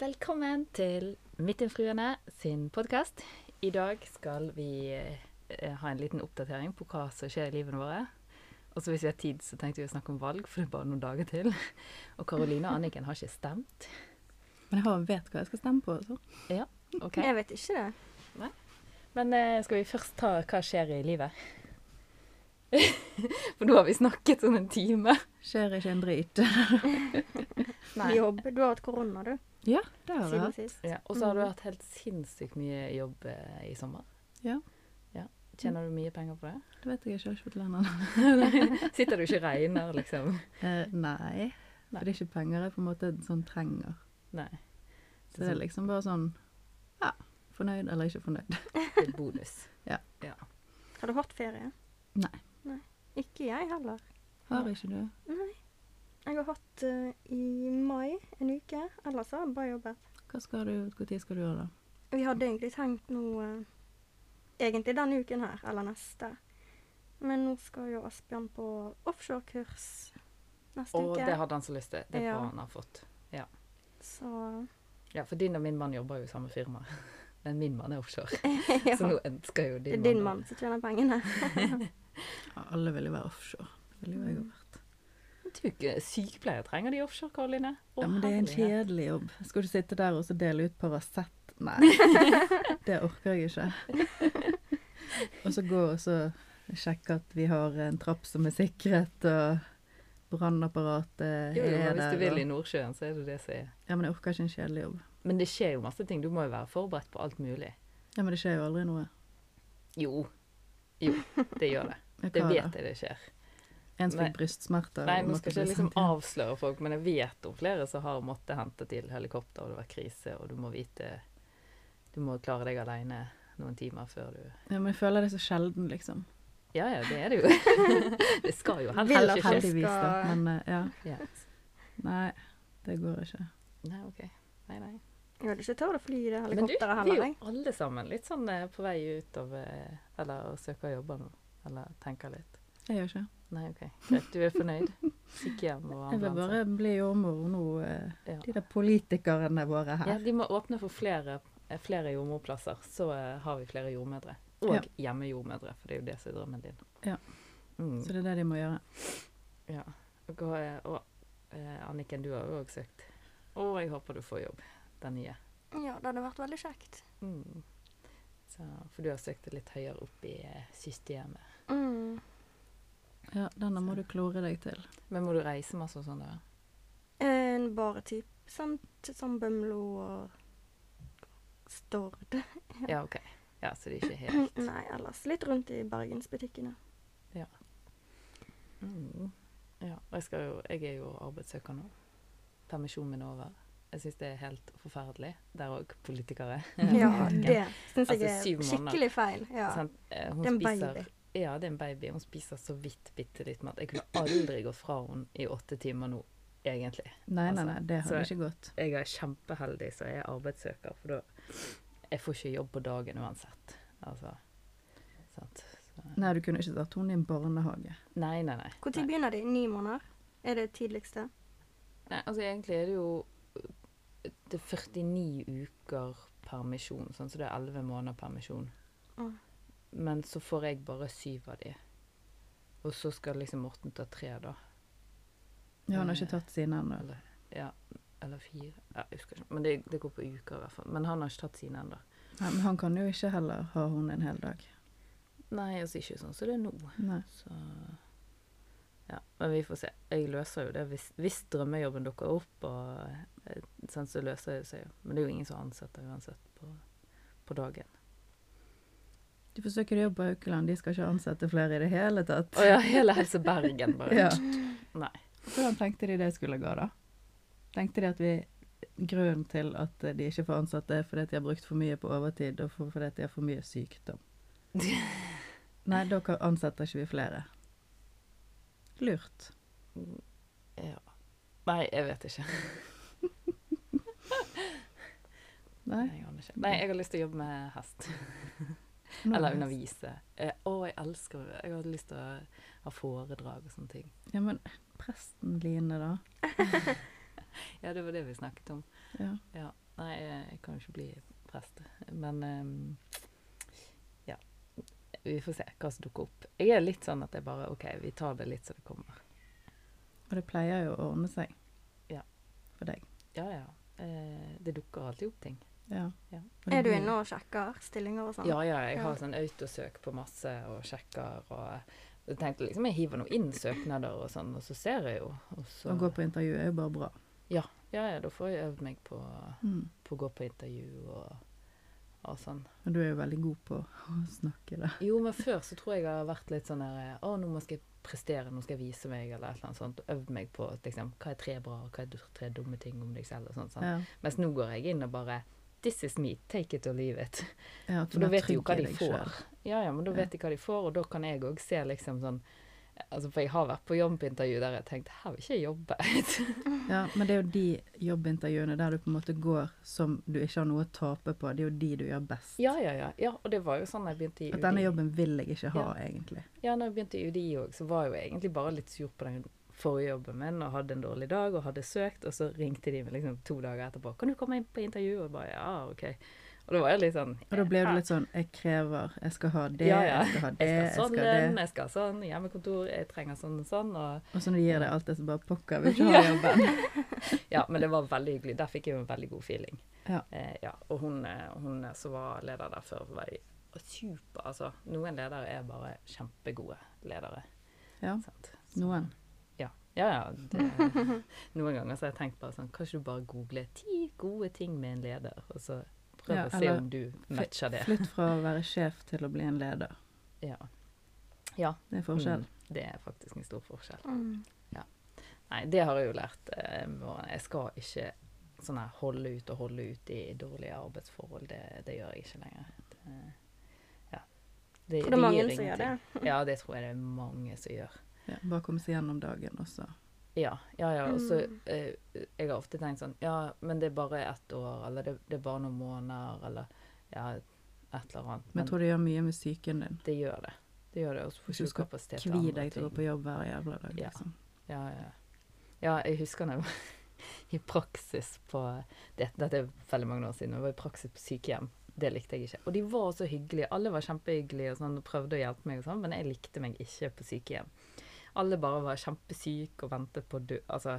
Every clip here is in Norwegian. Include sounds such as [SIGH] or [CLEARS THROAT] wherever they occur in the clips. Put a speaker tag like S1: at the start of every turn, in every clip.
S1: Velkommen til Midtinfruene sin podkast. I dag skal vi eh, ha en liten oppdatering på hva som skjer i livene våre. Og så hvis vi har tid, så tenkte vi å snakke om valg, for det er bare noen dager til. [LAUGHS] Og Karoline og Anniken har ikke stemt.
S2: Men jeg har- vet hva jeg skal stemme på. altså. Så.
S1: Ja, ok.
S3: Jeg vet ikke det.
S1: Men eh, skal vi først ta hva skjer i livet? [LAUGHS] For nå har vi snakket sånn en time.
S2: Skjer ikke en drit. [LAUGHS]
S3: Jobb. Du har hatt korona, du.
S2: Ja, det har jeg
S3: Siden
S2: hatt.
S3: sist.
S1: Ja, og så har du hatt helt sinnssykt mye jobb eh, i sommer.
S2: Ja.
S1: Ja. Tjener du mye penger på det?
S2: Det vet jeg ikke, jeg har ikke fått lønn ennå.
S1: Sitter du ikke og regner, liksom?
S2: [LAUGHS] Eh, nei.
S1: Nei.
S2: For det er ikke penger jeg på en måte sånn trenger.
S1: Nei.
S2: Så det er liksom bare sånn ja, fornøyd eller ikke fornøyd.
S1: Det er bonus.
S3: Har du hatt ferie?
S2: Nei.
S3: Ikke jeg heller.
S2: Har ikke du?
S3: Nei. Jeg har hatt eh, i mai en uke. Ellers har jeg bare jobbet.
S2: Hva skal du, hvor tid skal du gjøre det?
S3: Vi hadde egentlig tenkt noe eh, Egentlig denne uken her, eller neste. Men nå skal jo Asbjørn på offshorekurs neste
S1: Og
S3: uke.
S1: det hadde han så lyst til. Det er
S3: Ja.
S1: bra han har fått.
S3: Så
S1: Ja, for din og min mann jobber jo i samme firma. Men min mann er
S2: [LAUGHS]
S1: offshore,
S3: ja.
S1: så nå ønsker jo
S3: Det
S1: din,
S3: er din mann som tjener pengene.
S2: Ja, alle vil jo være offshore. Det vil jo jeg også vært.
S1: Jeg tror ikke sykepleiere trenger de offshore, Karoline. Å,
S2: Ja, men det er en
S1: herlighet.
S2: kjedelig jobb. Skal du sitte der og så dele ut Paracet?
S1: [LAUGHS]
S2: Nei, det orker jeg ikke. Og så gå og så sjekke at vi har en trapp som er sikret, og brannapparatet
S1: Jo, jo,
S2: er
S1: men hvis
S2: der.
S1: du vil i
S2: og-
S1: Nordsjøen, så er det det som er
S2: Ja, men jeg orker ikke en kjedelig jobb.
S1: Men det skjer jo masse ting. Du må jo være forberedt på alt mulig.
S2: Ja, men det skjer jo aldri noe.
S1: Jo. Jo, det gjør det.
S2: Men
S1: Det
S2: hva da?
S1: vet jeg det skjer.
S2: En
S1: Nei.
S2: fikk brystsmerter.
S1: Nei,
S2: og
S1: nå
S2: måtte
S1: skal
S2: bli
S1: ikke jeg liksom
S2: sendt hjem.
S1: avsløre folk, men jeg vet om flere som har måttet hente til helikopter, og det har vært krise, og du må vite Du må klare deg aleine noen timer før du
S2: Ja, men jeg føler det så sjelden, liksom.
S1: Ja ja, det er det jo. [LAUGHS] det skal jo helst
S3: Vil at
S1: ikke skje.
S3: helst-
S2: Heldigvis, da.
S3: skal-
S2: Men eh, ja.
S1: Ja.
S2: Nei, det går ikke.
S1: Nei, OK. Nei, nei.
S3: Jeg hadde ikke tørt å fly i det
S1: Men du, vi
S3: helikopteret
S1: er
S3: heller,
S1: jo
S3: jeg.
S1: alle sammen litt sånn eh, på vei ut av eh, Eller å søke jobber nå. Eller tenker litt.
S2: Jeg gjør ikke.
S1: Nei, OK. Greit, du er fornøyd? Sykehjem og
S2: Jeg vil
S1: ambulanse.
S2: bare bli jordmor nå. eh,
S1: Ja.
S2: De der politikerne våre her.
S1: Ja, de må åpne for flere, eh, flere jordmorplasser, så eh, har vi flere jordmødre. Og
S2: Ja.
S1: hjemmejordmødre, for det er jo det som er drømmen din.
S2: Ja.
S1: Mm,
S2: Så det er det de må gjøre.
S1: ja. Og, eh, og eh, Anniken, du har jo òg søkt. Og jeg håper du får jobb, den nye.
S3: Ja, det hadde vært veldig kjekt.
S1: Mm. Så, for du har søkt det litt høyere opp i eh, systemet.
S3: Mm.
S2: Ja, Denne må du klore deg til.
S1: Men må du reise masse og sånn da?
S3: En bare typ samt som Bømlo og Stord.
S1: Ja, OK. Ja, så det er ikke
S2: [CLEARS THROAT]
S1: helt
S3: Nei, ellers litt rundt
S1: [LAUGHS]
S3: i bergensbutikkene.
S1: mm. Ja. Og jeg, skal jo, jeg er jo arbeidssøker nå. Permisjonen min er over. Jeg syns det er helt forferdelig. Der òg politikere.
S3: Ja,
S1: Anniken.
S3: det syns jeg
S1: Altså, syv
S3: er
S1: måneder.
S3: skikkelig feil. Ja.
S1: Sant? Eh, Hun
S3: Det er en
S1: spiser,
S3: baby.
S1: Ja, det er en baby. Hun spiser så vidt bitte litt mat. Jeg kunne aldri gått fra henne i åtte timer nå, egentlig.
S2: Nei,
S1: Altså,
S2: nei, nei, det hadde
S1: så-
S2: ikke gått.
S1: Jeg er kjempeheldig som er arbeidssøker, for da Jeg får ikke jobb på dagen uansett. Altså. Sant. Så-
S2: Nei, du kunne ikke tatt henne i en barnehage.
S1: Nei, nei, nei.
S3: Når begynner de? Ni måneder? Er det tidligste?
S1: Nei, altså egentlig er det jo ø, det er 49 uker permisjon, sånn, så det er 11 måneder permisjon.
S3: Mm.
S1: Men så får jeg bare syv av de. Og så skal liksom Morten ta tre, da.
S2: Ja, han har ikke tatt sine ennå.
S1: Eller, ja, eller fire. Ja, jeg husker ikke. Men det, det går på uker, i hvert fall. Men han har ikke tatt sine ennå.
S2: Nei, Men han kan jo ikke heller ha henne en hel dag.
S1: Nei, altså ikke sånn som det er nå.
S2: Nei.
S1: Så Ja, men vi får se. Jeg løser jo det hvis, hvis drømmejobben dukker opp, og eh, sånn, så løser det seg jo. Men det er jo ingen som ansetter uansett på, på [LAUGHS] dagen.
S2: Du forsøker jobb på Haukeland, de skal ikke ansette flere i det hele tatt.
S1: Å ja, hele Helse Bergen bare.
S2: Ja.
S1: Nei.
S2: Hvordan tenkte de det skulle gå, da? Tenkte de at vi Grunnen til at de ikke får ansatte, er fordi at de har brukt for mye på overtid, og for- fordi at de har for mye
S1: [LAUGHS]
S2: sykdom. Nei, da kan- ansetter ikke vi flere. Lurt.
S1: Ja. Nei, jeg vet ikke.
S2: Nei.
S1: Jeg aner ikke. Nei, jeg har lyst til å jobbe med hest.
S2: nå-
S1: Eller undervise. Eh, Å, jeg elsker det. Jeg hadde lyst til å ha foredrag og sånne ting.
S2: Ja, men presten Line, da.
S1: Ja, det var det vi snakket om.
S2: Ja.
S1: Ja. Nei, jeg jeg kan jo ikke bli prest. Men ehm, ja. Vi får se hva som dukker opp. Jeg er litt sånn at jeg bare OK, vi tar det litt så det kommer.
S2: Og det pleier jo å ordne seg.
S1: Ja.
S2: For deg.
S1: Ja, ja. Eh, det dukker alltid opp ting.
S2: Ja.
S1: Ja.
S2: Og det
S3: Er du
S2: blir-
S3: inne og sjekker stillinger og sånn?
S1: Mm. Ja, ja, jeg har
S3: Ja.
S1: sånn autosøk på masse og sjekker og jeg tenkte liksom jeg hiver nå inn søknader og sånn, og så ser jeg jo. Og så
S2: Å gå på intervju er jo bare bra.
S1: Ja, ja, da får jeg øvd meg på,
S2: Mm.
S1: på å gå på intervju og, og sånn.
S2: Og du er jo veldig god på å [LAUGHS] snakke, da.
S1: Jo, men før så tror jeg jeg har vært litt sånn der Å, nå må skal jeg prestere, nå skal jeg vise meg, eller et eller annet sånt. og Øvd meg på liksom, hva er tre bra, hva er du- tre dumme ting om deg selv, og sånt. sånn.
S2: Ja.
S1: Mens nå går jeg inn og bare This is me, take it or leave it.
S2: Ja, at du
S1: For da
S2: er
S1: vet de jo
S2: trygg
S1: hva
S2: i
S1: de
S2: deg
S1: får.
S2: selv.
S1: Ja, ja, men da
S2: Ja.
S1: vet de hva de får, og da kan jeg òg se liksom sånn Altså, for jeg har vært på jobbintervju der jeg har tenkt Her vil ikke jeg jobbe.
S2: Ja, men det er jo de jobbintervjuene der du på en måte går som du ikke har noe å tape på. Det er jo de du gjør best.
S1: ja, ja, ja, ja. Og det var jo sånn jeg begynte i
S2: At denne
S1: UDI.
S2: jobben vil jeg ikke ha, egentlig.
S1: Ja, når jeg begynte i UDI òg, så var jeg jo egentlig bare litt sur på den forrige jobben min og hadde en dårlig dag og hadde søkt, og så ringte de meg liksom to dager etterpå 'Kan du komme inn på intervju?' Og jeg bare ja, OK. Og da var jeg litt sånn
S2: Og da blir
S1: «Ja,
S2: du litt sånn Jeg krever. Jeg skal ha det.
S1: Ja, ja.
S2: Jeg skal ha det.
S1: jeg skal ha sånn lønn,
S2: det.
S1: jeg skal ha sånn hjemmekontor, jeg trenger sånn og sånn.
S2: [LAUGHS]
S1: Og,
S2: Og så når de gir deg alt det, så bare pokker,
S1: [LAUGHS]
S2: vil ikke ha jobben.
S1: ja, men det var veldig hyggelig. Der fikk jeg jo en veldig god feeling.
S2: Ja.
S1: Eh, ja. Og hun, eh, hun som var leder der før, var super. Altså, noen ledere er bare kjempegode ledere. [LAUGHS]
S2: ja.
S1: Sant?
S2: Noen.
S1: Ja, ja. ja
S3: [LAUGHS]
S1: det, noen ganger så har jeg tenkt bare sånn Kanskje du bare googler 'ti gode ting med en leder', og så prøv
S2: Ja,
S1: å se
S2: eller
S1: om du matcher det.
S2: Flytt fra å være sjef til å bli en leder.
S1: Ja. ja.
S2: Det er forskjell.
S1: Mm, det er faktisk en stor forskjell.
S3: Mm.
S1: Nei, det har jeg jo lært. eh, med årene. Jeg skal ikke sånn her holde ut og holde ut i dårlige arbeidsforhold. Det, det gjør jeg ikke lenger. Det, ja. Det,
S3: For det er mange
S1: gir
S3: som gjør det.
S1: ingenting. Ja, det tror jeg det er mange som gjør.
S2: Ja, bare komme seg gjennom dagen også.
S1: Ja, ja, ja. Og så
S3: Mm.
S1: eh, Jeg har ofte tenkt sånn Ja, men det er bare ett år, eller det, det er bare noen måneder, eller ja, et eller annet.
S2: Men jeg tror det gjør mye med psyken din.
S1: det gjør det. Det gjør det. Og så
S2: Hvis
S1: får
S2: du
S1: du
S2: skal
S1: kapasitet til
S2: Kvi
S1: andre
S2: deg til å
S1: ting.
S2: gå på jobb hver jævla dag.
S1: Ja.
S2: Liksom.
S1: Ja, ja. ja, jeg husker da jeg var [LAUGHS] i praksis på det, Dette er veldig mange år siden. Jeg var i praksis på sykehjem. Det likte jeg ikke. Og de var så hyggelige. Alle var kjempehyggelige og sånn, og prøvde å hjelpe meg, og sånn, men jeg likte meg ikke på sykehjem. Alle bare var kjempesyke og ventet på å dø. Altså,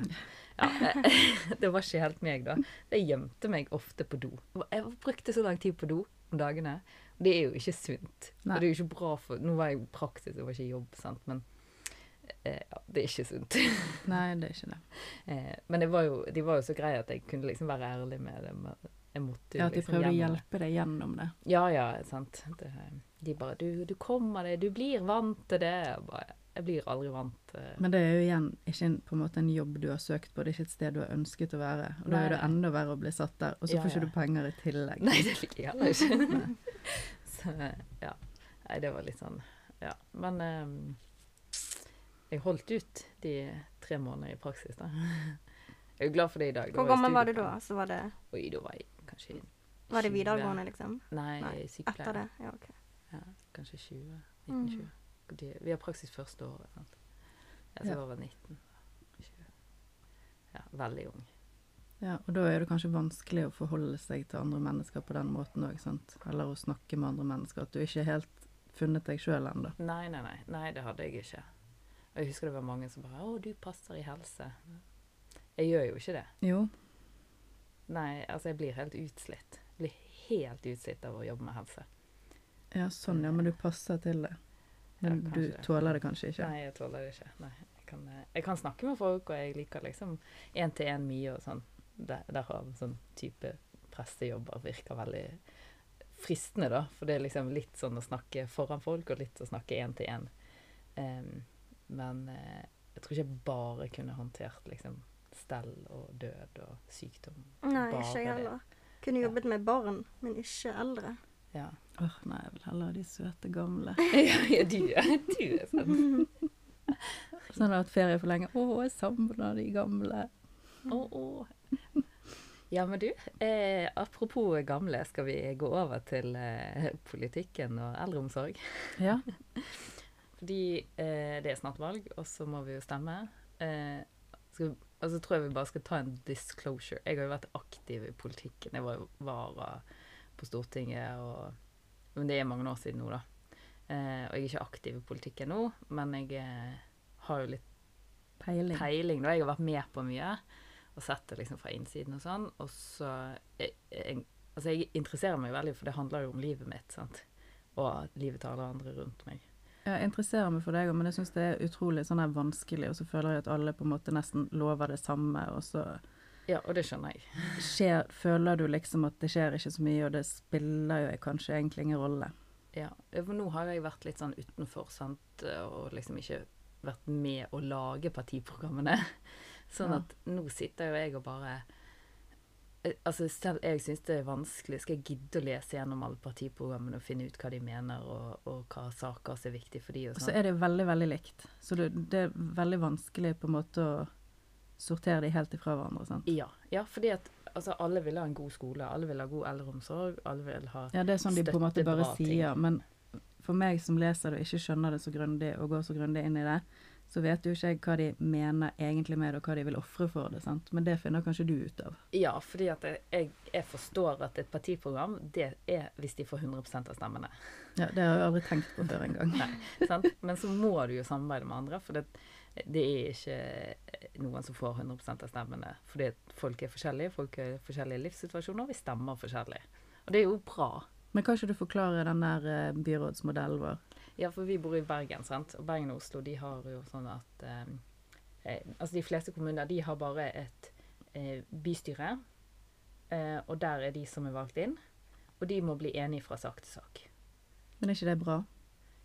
S1: ja, eh, [LAUGHS] det var ikke helt meg, da. Jeg gjemte meg ofte på do. Jeg brukte så lang tid på do om dagene. Det er jo ikke sunt.
S2: Nei.
S1: Og det er jo ikke bra for Nå var jeg i praksis, jeg var ikke i jobb, sant, men eh, ja, det er ikke sunt.
S2: Nei, det er ikke det.
S1: Eh, men det var jo, de var jo så greie at jeg kunne liksom være ærlig med dem. og Jeg måtte jo
S2: Ja, at de
S1: liksom
S2: prøvde å
S1: gjennom det.
S2: hjelpe deg gjennom det.
S1: Ja, ja, sant. Det, de bare du, 'Du kommer deg, du blir vant til det.' Jeg bare Jeg blir aldri vant. eh.
S2: Men det er jo igjen ikke en, på en måte en jobb du har søkt på, det er ikke et sted du har ønsket å være. Og da er det
S1: Nei.
S2: enda verre å bli satt der, og så
S1: Ja,
S2: får ikke
S1: ja.
S2: du penger i tillegg.
S1: Nei, det fikk jeg heller ikke. [LAUGHS] så ja. Nei, det var litt sånn Ja. Men ehm, jeg holdt ut de tre månedene i praksis, da. [LAUGHS] Jeg er glad for det i dag.
S3: Hvor gammel var du da? Så var det,
S1: Oi, da var jeg kanskje
S3: var det
S1: 20.
S3: videregående, liksom?
S1: Nei,
S3: Nei,
S1: sykepleier.
S3: Etter det? Ja, OK.
S1: Ja, kanskje 20.
S3: Mm.
S1: 1920. De, vi har praksis første året. Sant? Ja, så
S2: Ja.
S1: jeg var vel 19. 20. Ja, veldig ung.
S2: Ja, og da er det kanskje vanskelig å forholde seg til andre mennesker på den måten òg, sant. Eller å snakke med andre mennesker. At du ikke er helt funnet deg sjøl ennå.
S1: Nei, nei, nei, nei, det hadde jeg ikke. Og jeg husker det var mange som bare 'Å, du passer i helse'. Jeg gjør jo ikke det.
S2: Jo.
S1: Nei, altså jeg blir helt utslitt. Jeg blir helt utslitt av å jobbe med helse.
S2: Ja, sånn ja, men du passer til det.
S1: Ja,
S2: Men du
S1: kanskje.
S2: tåler det kanskje ikke.
S1: Nei, jeg tåler det ikke. Nei, jeg, kan, eh, jeg kan snakke med folk, og jeg liker liksom én-til-én mye og sånn. Der, derav sånn type prestejobber virker veldig fristende, da. For det er liksom litt sånn å snakke foran folk, og litt å snakke én-til-én. Em, men eh, jeg tror ikke jeg bare kunne håndtert liksom stell og død og sykdom.
S3: Nei,
S1: Bare
S3: ikke jeg
S1: det.
S3: heller. Kunne
S1: Ja.
S3: jobbet med barn, men ikke eldre.
S1: Ja. [LAUGHS]
S2: Åh, nei, jeg vil heller ha de søte gamle.
S1: ja du, du er sånn.
S2: [LAUGHS] Sånn har hatt ferie for lenge. Åh, jeg savner de gamle.
S1: Å, å. Ja, men du, eh, apropos gamle, skal vi gå over til eh, politikken og eldreomsorg?
S2: Ja.
S1: Fordi eh, det er snart valg, og så må vi jo stemme. Eh, Skal, og så tror jeg vi bare skal ta en disclosure. Jeg har jo vært aktiv i politikken. Jeg var jo vara på Stortinget og Men det er mange år siden nå, da. Eh, og jeg er ikke aktiv i politikken nå, men jeg eh, har jo litt
S2: Peiling.
S1: peiling. da. Jeg har vært med på mye og sett det liksom fra innsiden og sånn. Og så jeg, jeg, Altså, jeg interesserer meg veldig, for det handler jo om livet mitt, sant. Og livet til alle andre rundt meg.
S2: Jeg interesserer meg for deg òg, men jeg syns det er utrolig sånn her vanskelig, og så føler jeg at alle på en måte nesten lover det samme, og så
S1: Ja, og det skjønner jeg.
S2: skjer, føler du liksom at det skjer ikke så mye, og det spiller jo kanskje egentlig ingen rolle.
S1: Ja. For nå har jeg vært litt sånn utenfor, sant, og liksom ikke vært med å lage partiprogrammene. [LAUGHS] Sånn
S2: Ja.
S1: at nå sitter jo jeg og bare Eh, Altså, selv jeg syns det er vanskelig. Skal jeg gidde å lese gjennom alle partiprogrammene og finne ut hva de mener, og, og hva saker som er viktige for de og
S2: Og
S1: sånn?
S2: så er det veldig, veldig likt. Så det, det er veldig vanskelig på en måte å sortere de helt ifra hverandre. sant?
S1: Ja, ja fordi at altså, alle vil ha en god skole, alle vil ha god eldreomsorg, alle vil ha
S2: Ja, det er sånn de på en måte
S1: Støtte
S2: bare
S1: bra ting.
S2: sier, men for meg som leser det og ikke skjønner det så grundig, og går så grundig inn i det, så vet jo ikke jeg hva de mener egentlig med det, og hva de vil ofre for det, sant. Men det finner kanskje du ut av.
S1: Ja, fordi at jeg- jeg, jeg forstår at et partiprogram, det er hvis de får 100 av stemmene.
S2: Ja, Det har jeg aldri tenkt på før engang.
S1: [LAUGHS] sant? Men så må du jo samarbeide med andre, for det, det er ikke eh, noen som får 100 av stemmene. Fordi at folk er forskjellige, folk har forskjellige livssituasjoner, og vi stemmer forskjellig. Og det er jo bra.
S2: Men kan ikke du forklare den der eh, byrådsmodellen vår?
S1: Ja, for vi bor i Bergen, sant? og Bergen og Oslo de har jo sånn at eh, eh, Altså de fleste kommuner de har bare et eh, bystyre, eh, og der er de som er valgt inn. Og de må bli enige fra sak til sak.
S2: Men er ikke det bra?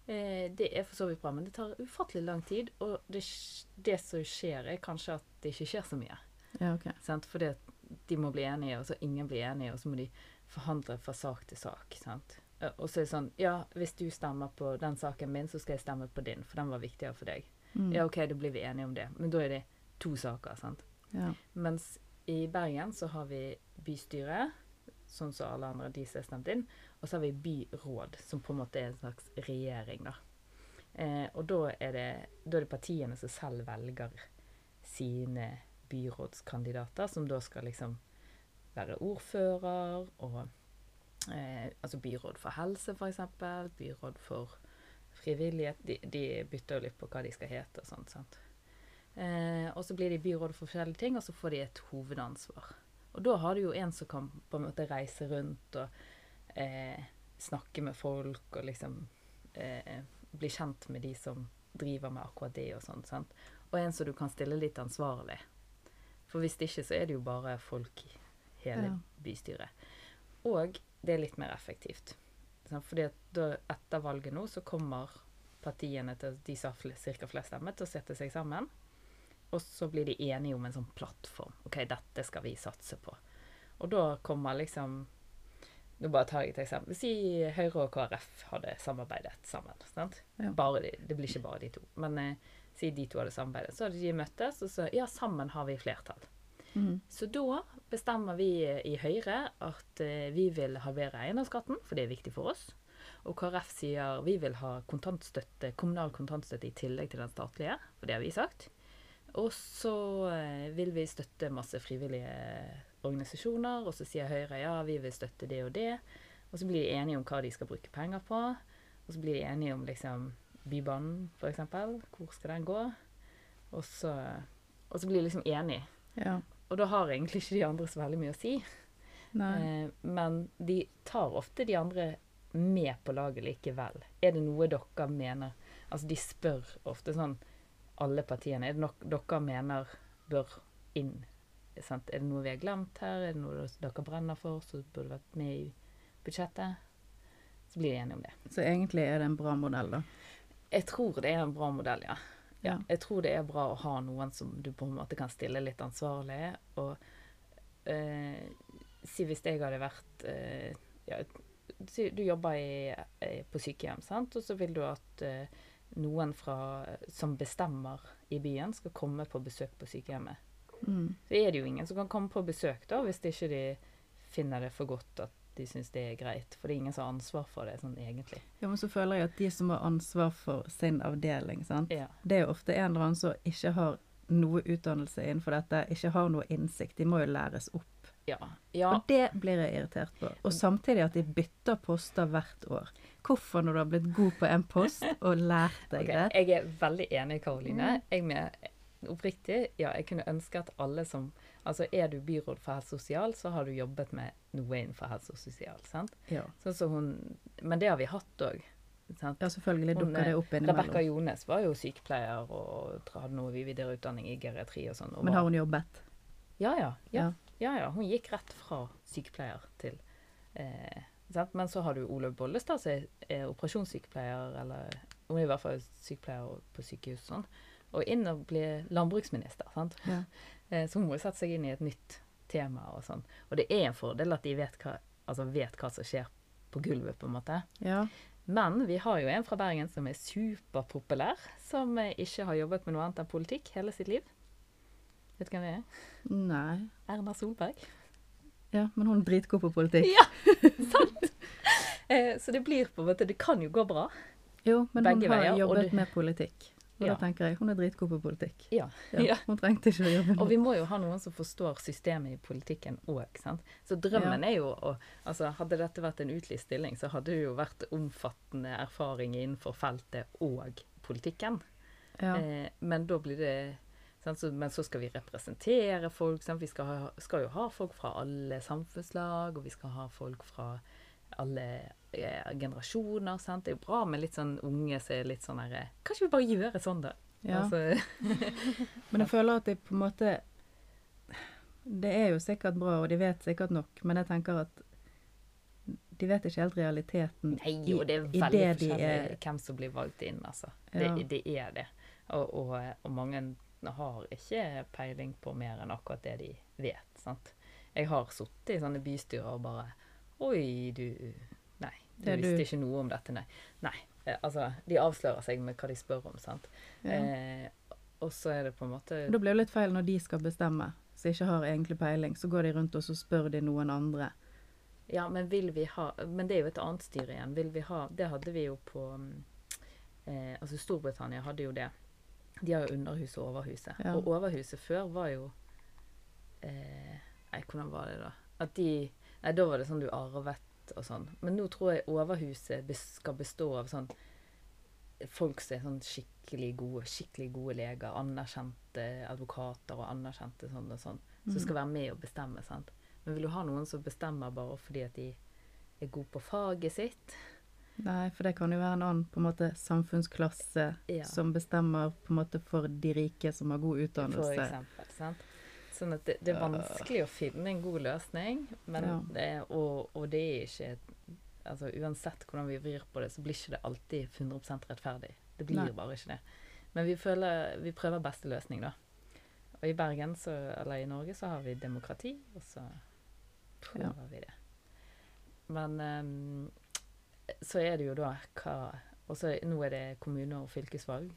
S1: Eh, det er for så vidt bra, men det tar ufattelig lang tid. Og det, sk- det som skjer, er kanskje at det ikke skjer så mye.
S2: Ja, ok.
S1: Sant? Fordi at de må bli enige, og så ingen blir enige, og så må de forhandle fra sak til sak. Sant? Eh, Og så er det sånn Ja, hvis du stemmer på den saken min, så skal jeg stemme på din, for den var viktigere for deg.
S2: Mm.
S1: Ja, OK, da blir vi enige om det. Men da er det to saker, sant.
S2: Ja.
S1: Mens i Bergen så har vi bystyret, sånn som alle andre de som er stemt inn, og så har vi byråd, som på en måte er en slags regjering, da. Eh, og da er, det, da er det partiene som selv velger sine byrådskandidater, som da skal liksom være ordfører og eh, Altså byråd for helse, for eksempel. Byråd for frivillighet. De, de bytter jo litt på hva de skal hete og sånt. sant? Eh, og så blir de byråd for forskjellige ting, og så får de et hovedansvar. Og da har du jo en som kan på en måte reise rundt og eh, snakke med folk og liksom eh, bli kjent med de som driver med akkurat det og sånn. sant? Og en som du kan stille litt ansvarlig. For hvis ikke så er det jo bare folk i hele
S2: Ja.
S1: bystyret. Og det er litt mer effektivt. sant? Fordi at da, etter valget nå så kommer partiene til de som har ca. flest stemmer, til å sette seg sammen. Og så blir de enige om en sånn plattform. OK, dette skal vi satse på. Og da kommer liksom Nå bare tar jeg et eksempel. Si Høyre og KrF hadde samarbeidet sammen. sant?
S2: Ja.
S1: Bare de, det blir ikke bare de to. Men eh, si de to hadde samarbeidet. Så hadde de møttes, og så Ja, sammen har vi flertall.
S2: Mm.
S1: Så da bestemmer vi eh, i Høyre at eh, vi vil halvere eiendomsskatten, for det er viktig for oss. Og KrF sier vi vil ha kontantstøtte, kommunal kontantstøtte i tillegg til den statlige, for det har vi sagt. Og så eh, vil vi støtte masse frivillige organisasjoner, og så sier Høyre ja, vi vil støtte det og det. Og så blir de enige om hva de skal bruke penger på. Og så blir de enige om liksom Bybanen, for eksempel. Hvor skal den gå? Og så, og så blir de liksom enige.
S2: Ja.
S1: Og da har egentlig ikke de andre så veldig mye å si.
S2: Nei.
S1: Eh, men de tar ofte de andre med på laget likevel. Er det noe dere mener Altså, de spør ofte sånn alle partiene. Er det noe dere mener bør inn? Sant? Er det noe vi har glemt her? Er det noe dere brenner for, som burde vært med i budsjettet? Så blir de enige om det.
S2: Så egentlig er det en bra modell, da.
S1: Jeg tror det er en bra modell, ja.
S2: Ja.
S1: Jeg tror det er bra å ha noen som du på en måte kan stille litt ansvarlig. Og eh, si hvis jeg hadde vært eh, ja, si, Du jobber i, eh, på sykehjem, sant? og så vil du at eh, noen fra, som bestemmer i byen, skal komme på besøk på sykehjemmet.
S2: Mm.
S1: Så er det jo ingen som kan komme på besøk da, hvis ikke de finner det for godt at de syns det er greit. For det er ingen som har ansvar for det, sånn egentlig.
S2: Ja, men så føler jeg at de som har ansvar for sin avdeling, sant?
S1: Ja.
S2: det er jo ofte en eller annen som ikke har noe utdannelse innenfor dette, ikke har noe innsikt. De må jo læres opp.
S1: Ja. ja.
S2: Og det blir jeg irritert på. Og samtidig at de bytter poster hvert år. Hvorfor, når du har blitt god på en post og lært deg
S1: Ok,
S2: det?
S1: Jeg er veldig enig, Karoline.
S2: Mm.
S1: Jeg med oppriktig, ja, jeg kunne ønske at alle som Altså, er du byråd for helse og sosial, så har du jobbet med noe innenfor helse og sosial, sant?
S2: Ja,
S1: Sånn som hun Men det har vi hatt òg. sant?
S2: ja selvfølgelig
S1: Hun,
S2: dukker det opp
S1: Rebekka
S2: innimellom.
S1: Jones var jo sykepleier og tra- hadde noe videreutdanning i geriatri og sånn. og
S2: Men har
S1: var-
S2: hun jobbet?
S1: ja ja, ja,
S2: Ja.
S1: ja, ja. Hun gikk rett fra sykepleier til eh, sant? Men så har du Olaug Bollestad, som er, er operasjonssykepleier, eller hun er i hvert fall sykepleier på sykehus og sånn, og inn og ble landbruksminister. sant?
S2: Ja.
S1: [LAUGHS] Eh, så hun må jo sette seg inn i et nytt tema og sånn. Og det er en fordel at de vet hva, altså vet hva som skjer på gulvet, på en måte.
S2: Ja.
S1: Men vi har jo en fra Bergen som er superpopulær, som eh, ikke har jobbet med noe annet enn politikk hele sitt liv. Vet du hvem det er?
S2: Nei.
S1: Erna Solberg.
S2: Ja, men hun er dritgod på politikk.
S1: [LAUGHS] Ja, sant! [LAUGHS] Eh, Så det blir på en måte Det kan jo gå bra.
S2: Jo, men hun
S1: Begge
S2: har
S1: veier, og
S2: jobbet
S1: du-
S2: med politikk. Og
S1: Ja.
S2: da tenker jeg, hun er dritgod på politikk.
S1: Ja.
S2: Ja,
S1: [LAUGHS] ja.
S2: Hun trengte ikke å jobbe
S1: Og
S2: med
S1: vi må jo ha noen som forstår systemet i politikken òg, sant. Så drømmen er jo å Altså, hadde dette vært en utlyst stilling, så hadde det jo vært omfattende erfaring innenfor feltet og politikken.
S2: ja.
S1: Eh, men da blir det sant? Så, Men så skal vi representere folk. Sant? Vi skal, ha, skal jo ha folk fra alle samfunnslag, og vi skal ha folk fra alle eh, generasjoner. Sant? Det er jo bra med litt sånn unge som er litt sånn herre Kanskje vi bare gjør det sånn, da?
S2: Ja.
S1: Altså,
S2: Men jeg føler at de på en måte Det er jo sikkert bra, og de vet sikkert nok, men jeg tenker at de vet ikke helt realiteten
S1: nei,
S2: i-
S1: jo, det er
S2: i
S1: veldig
S2: det de
S1: forskjellig
S2: er-
S1: hvem som blir valgt inn, altså.
S2: Ja.
S1: Det, det er det. Og, og, og mange har ikke peiling på mer enn akkurat det de vet. sant? Jeg har sittet i sånne bystyrer og bare Oi, du Nei, du
S2: Det er
S1: visste
S2: du.
S1: ikke noe om dette, nei. Nei. eh, Altså, de avslører seg med hva de spør om, sant.
S2: Ja.
S1: Eh, og så er det på en måte
S2: Da blir det litt feil når de skal bestemme, som ikke har egentlig peiling. Så går de rundt og så spør de noen andre.
S1: Ja, men vil vi ha Men det er jo et annet styre igjen. Vil vi ha Det hadde vi jo på mm, eh, Altså Storbritannia hadde jo det. De har jo underhuset og overhuset.
S2: Ja.
S1: Og overhuset før var jo eh, Nei, hvordan var det da? At de Nei, da var det sånn du arvet og sånn. Men nå tror jeg overhuset bes- skal bestå av sånn folk som er sånn skikkelig gode, skikkelig gode leger, anerkjente advokater og anerkjente sånn og sånn, som skal være med og bestemme. sant? Men vil du ha noen som bestemmer bare fordi at de er gode på faget sitt?
S2: Nei, for det kan jo være en annen på en måte samfunnsklasse
S1: Ja.
S2: som bestemmer på en måte for de rike som har god
S1: For
S2: utdannelse.
S1: eksempel, sant? Sånn at det, det er vanskelig å finne en god løsning, men
S2: Ja.
S1: det, og, og det er ikke altså Uansett hvordan vi vrir på det, så blir ikke det alltid 100 rettferdig. Det blir
S2: Nei.
S1: bare ikke det. Men vi, føler, vi prøver beste løsning, da. Og i Bergen, så, eller i Norge, så har vi demokrati, og så prøver
S2: Ja.
S1: vi det. Men ehm, så er det jo da hva Og så nå er det kommune og fylkesvalg.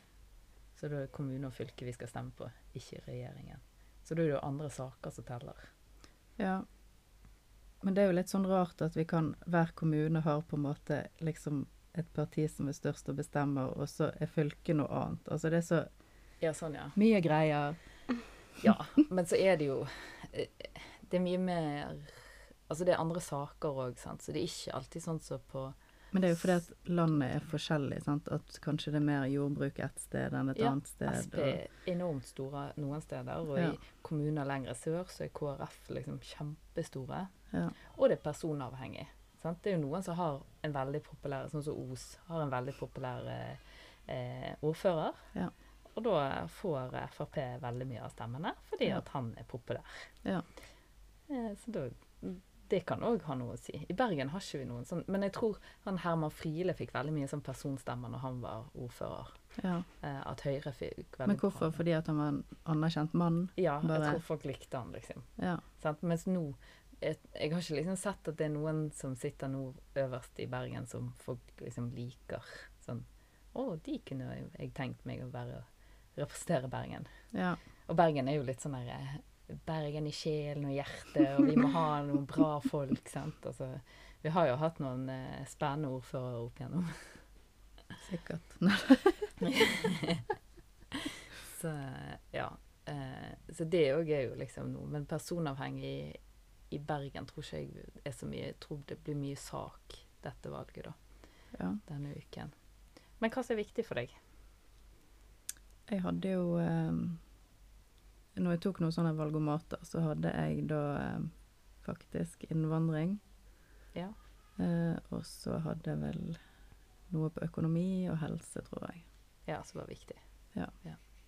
S1: Så da er det kommune og fylke vi skal stemme på, ikke regjeringen. Så da er det jo andre saker som teller.
S2: Ja. Men det er jo litt sånn rart at vi kan Hver kommune har på en måte liksom et parti som er størst og bestemmer, og så er fylket noe annet. Altså det er så
S1: Ja, sånn, ja.
S2: mye greier.
S1: Ja, men så er det jo eh, Det er mye mer Altså, det er andre saker òg, sant. Så det er ikke alltid sånn som på
S2: Men det er jo fordi at landet er forskjellig, sant. At kanskje det er mer jordbruk et sted enn et
S1: Ja, altså,
S2: annet sted.
S1: Sp
S2: og-
S1: enormt store noen steder, og
S2: Ja.
S1: i kommuner lenger sør så er KrF liksom kjempestore.
S2: ja.
S1: Og det er personavhengig. Sant? Det er jo noen som har en veldig populær, sånn som Os, har en veldig populær eh, eh, ordfører.
S2: Ja.
S1: Og da får Frp veldig mye av stemmene, fordi
S2: Ja.
S1: at han er populær.
S2: Ja.
S1: Eh, så da, det kan òg ha noe å si. I Bergen har ikke vi noen sånn, men jeg tror han Herman Friele fikk veldig mye sånn personstemmer når han var ordfører.
S2: ja.
S1: Eh, at Høyre fikk veldig
S2: Men hvorfor? Fordi at han var en anerkjent mann?
S1: Ja, jeg
S2: Bare-
S1: tror folk likte han, liksom.
S2: Ja.
S1: Sant? Mens nå jeg, jeg har ikke liksom sett at det er noen som sitter nå øverst i Bergen som folk liksom liker. Sånn Å, de kunne jo jeg tenkt meg å være representere Bergen.
S2: ja.
S1: Og Bergen er jo litt sånn derre Bergen i sjelen og hjertet, og vi må ha noen bra folk, sant. Altså, vi har jo hatt noen eh, spennende ordførere opp igjennom. [LAUGHS]
S2: Sikkert. Nei.
S1: Så ja. eh, så det òg er jo liksom noe. Men personavhengig i Bergen tror ikke jeg er så mye Jeg tror det blir mye sak, dette valget, da.
S2: Ja.
S1: Denne uken. Men hva som er viktig for deg?
S2: Jeg hadde jo eh, Når jeg tok noen sånne valgomater, så hadde jeg da eh, faktisk innvandring.
S1: Ja.
S2: Eh, og så hadde jeg vel noe på økonomi og helse, tror jeg.
S1: Ja, som var viktig.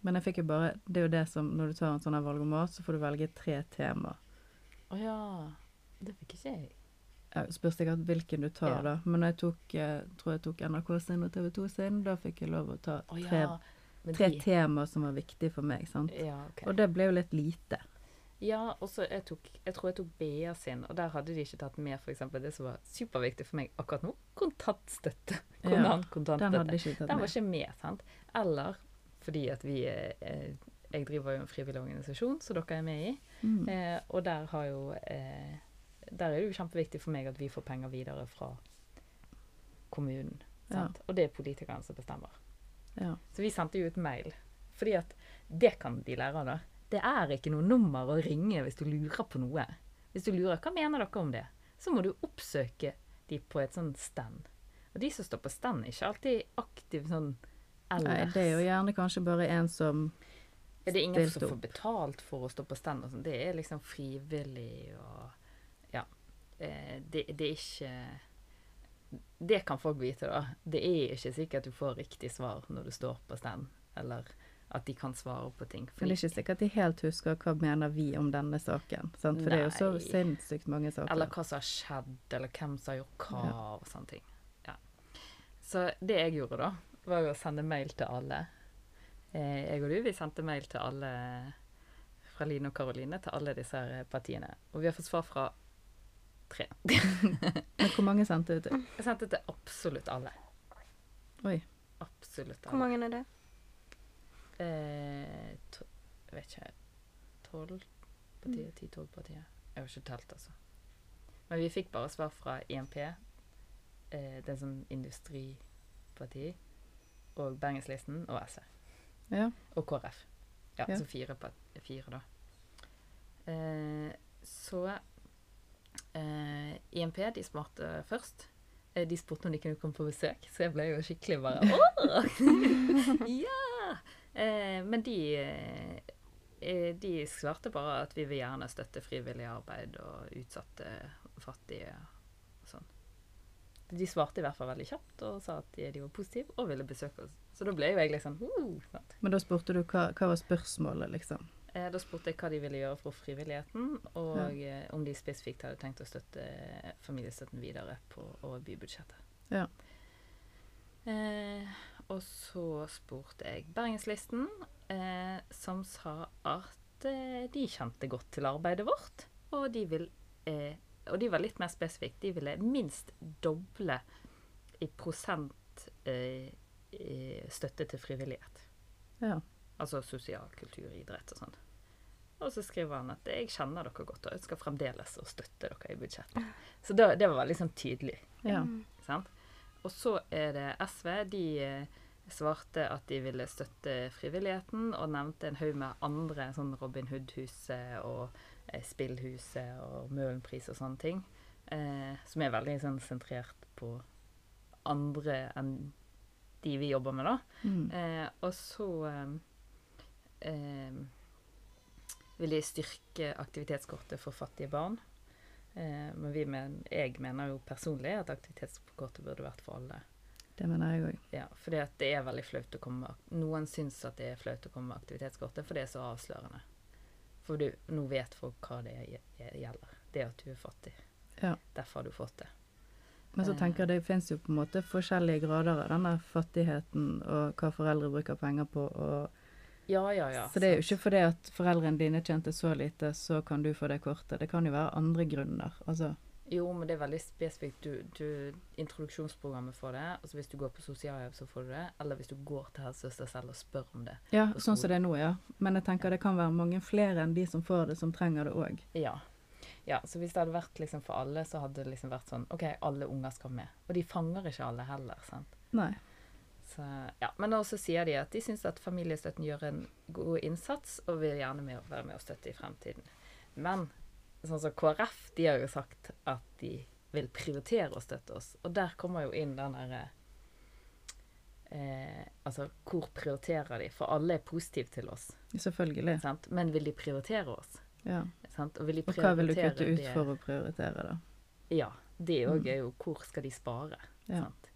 S2: Men jeg fikk jo bare Det er jo det som Når du tar en sånn her valgomat, så får du velge tre tema.
S1: Å ja. Det fikk ikke jeg.
S2: Jeg spørs sikkert hvilken du tar,
S1: Ja.
S2: da. Men når jeg tok, eh, tror jeg tok NRK sin og TV 2 sin, da fikk jeg lov å ta
S1: Å
S2: tre,
S1: ja. Men
S2: tre
S1: de-
S2: tema som var viktige for meg. sant?
S1: Ja, ok.
S2: Og det ble jo litt lite.
S1: Ja, og så jeg, tok, jeg tror jeg tok BA sin, og der hadde de ikke tatt med for eksempel det som var superviktig for meg akkurat nå, kontantstøtte.
S2: Ja,
S1: Hvordan
S2: Den
S1: kontantstøtte.
S2: hadde ikke tatt
S1: Sånn Den var
S2: med.
S1: ikke med, sant? Eller fordi at vi eh, eh, Jeg driver jo en frivillig organisasjon som dere er med i.
S2: Mm.
S1: Eh, og der har jo eh, Der er det jo kjempeviktig for meg at vi får penger videre fra kommunen.
S2: Ja.
S1: Sant? Og det er politikerne som bestemmer.
S2: Ja.
S1: Så vi sendte jo ut mail. Fordi at det kan de lære av, da. Det er ikke noe nummer å ringe hvis du lurer på noe. Hvis du lurer hva mener dere om det, så må du oppsøke de på et sånt stand. Og de som står på stand, er ikke alltid aktive sånn
S2: Nei,
S1: ellers.
S2: det er jo gjerne kanskje bare en som
S1: Er det ingen som
S2: stilt
S1: får betalt for å stå på stand og sånn? Det er liksom frivillig og Ja. Eh, Det, det er ikke Det kan folk vite, da. Det er ikke sikkert du får riktig svar når du står på stand, eller at de kan svare på ting.
S2: Men det er ikke sikkert de helt husker hva mener vi om denne saken. Sant? For det er jo så
S1: Nei.
S2: sinnssykt mange saker.
S1: Eller hva som har skjedd, eller hvem som har gjort hva, og sånne ting. Ja. Så det jeg gjorde da, var jo å sende mail til alle. Eh, jeg og du, vi sendte mail til alle fra Line og Karoline til alle disse her partiene. Og vi har fått svar fra tre. [LAUGHS]
S2: Men hvor mange sendte ut?
S1: Jeg sendte til absolutt alle.
S2: Oi.
S1: Absolutt
S3: Hvor
S1: alle.
S3: mange er det?
S1: Eh, to, jeg vet ikke Tolv partier? Ti-tolv partier? Jeg har ikke telt, altså. Men vi fikk bare svar fra IMP, eh, den som industriparti, og Bergenslisten og E. SR.
S2: Ja.
S1: Og KrF. Ja,
S2: Ja.
S1: så fire, part- fire da. Eh, så eh, IMP, de svarte først. Eh, de spurte om de kunne komme på besøk, så jeg ble jo skikkelig bare Åh! ja! Eh, men de eh, eh, De svarte bare at vi vil gjerne støtte frivillig arbeid og utsatte fattige og sånn. De svarte i hvert fall veldig kjapt og sa at de, de var positive og ville besøke oss. Så da ble jo jeg liksom uh, sant?
S2: Men da spurte du hva, hva var spørsmålet, liksom.
S1: Eh, Da spurte jeg hva de ville gjøre for frivilligheten, og eh, om de spesifikt hadde tenkt å støtte eh, familiestøtten videre på over bybudsjettet.
S2: Ja.
S1: Eh, og så spurte jeg Bergenslisten, eh, som sa at eh, de kjente godt til arbeidet vårt, og de vil eh, og de var litt mer spesifikke. De ville minst doble i prosent eh, i støtte til frivillighet.
S2: Ja.
S1: Altså sosial kultur, idrett og sånn. Og så skriver han at 'jeg kjenner dere godt og ønsker fremdeles å støtte dere i budsjettet'. Så da, det var veldig sånn tydelig.
S2: ja.
S3: Mm.
S1: sant? Og så er det SV. De eh, svarte at de ville støtte frivilligheten, og nevnte en haug med andre, sånn Robin Hood-huset og eh, Spillhuset og Møhlenpris og sånne ting, eh, som er veldig sånn sentrert på andre enn de vi jobber med, da.
S2: Mm.
S1: Eh, og så eh, eh, vil de styrke aktivitetskortet for fattige barn. Eh, men vi men, jeg mener jo personlig at aktivitetskortet burde vært for alle.
S2: Det mener jeg òg.
S1: Ja, fordi at det er veldig flaut å komme med ak- Noen syns at det er flaut å komme med aktivitetskortet, for det er så avslørende. For du, nå vet folk hva det gje- gjelder. Det at du er fattig.
S2: Ja.
S1: Derfor har du fått det.
S2: Men så
S1: Eh.
S2: tenker jeg det fins jo på en måte forskjellige grader av denne fattigheten og hva foreldre bruker penger på og
S1: Ja, ja, ja.
S2: Så det er jo ikke fordi at foreldrene dine tjente så lite, så kan du få det kortet. Det kan jo være andre grunner. Altså
S1: Jo, men det er veldig spesifikt. Du, du, introduksjonsprogrammet får det. Altså hvis du går på sosialhjelp, så får du det. Eller hvis du går til helsesøster selv og spør om det.
S2: Ja,
S1: på
S2: sånn som
S1: skolen.
S2: det er nå, ja. Men jeg tenker det kan være mange flere enn de som får det, som trenger det òg.
S1: Ja. ja så hvis det hadde vært liksom for alle, så hadde det liksom vært sånn OK, alle unger skal med. Og de fanger ikke alle heller, sant.
S2: Nei.
S1: Så, ja. Men også sier de at de syns at familiestøtten gjør en god innsats, og vil gjerne med være med å støtte i fremtiden. Men sånn som KrF, de har jo sagt at de vil prioritere å støtte oss. Og der kommer jo inn den derre eh, Altså, hvor prioriterer de? For alle er positive til oss,
S2: Selvfølgelig.
S1: sant? men vil de prioritere oss?
S2: Ja.
S1: Sant? Og, vil de
S2: Og hva vil du
S1: prioritere
S2: kutte ut
S1: det-
S2: for å prioritere, da?
S1: Ja. Det òg er jo Hvor skal de spare?
S2: Mm. Ja.
S1: Sant?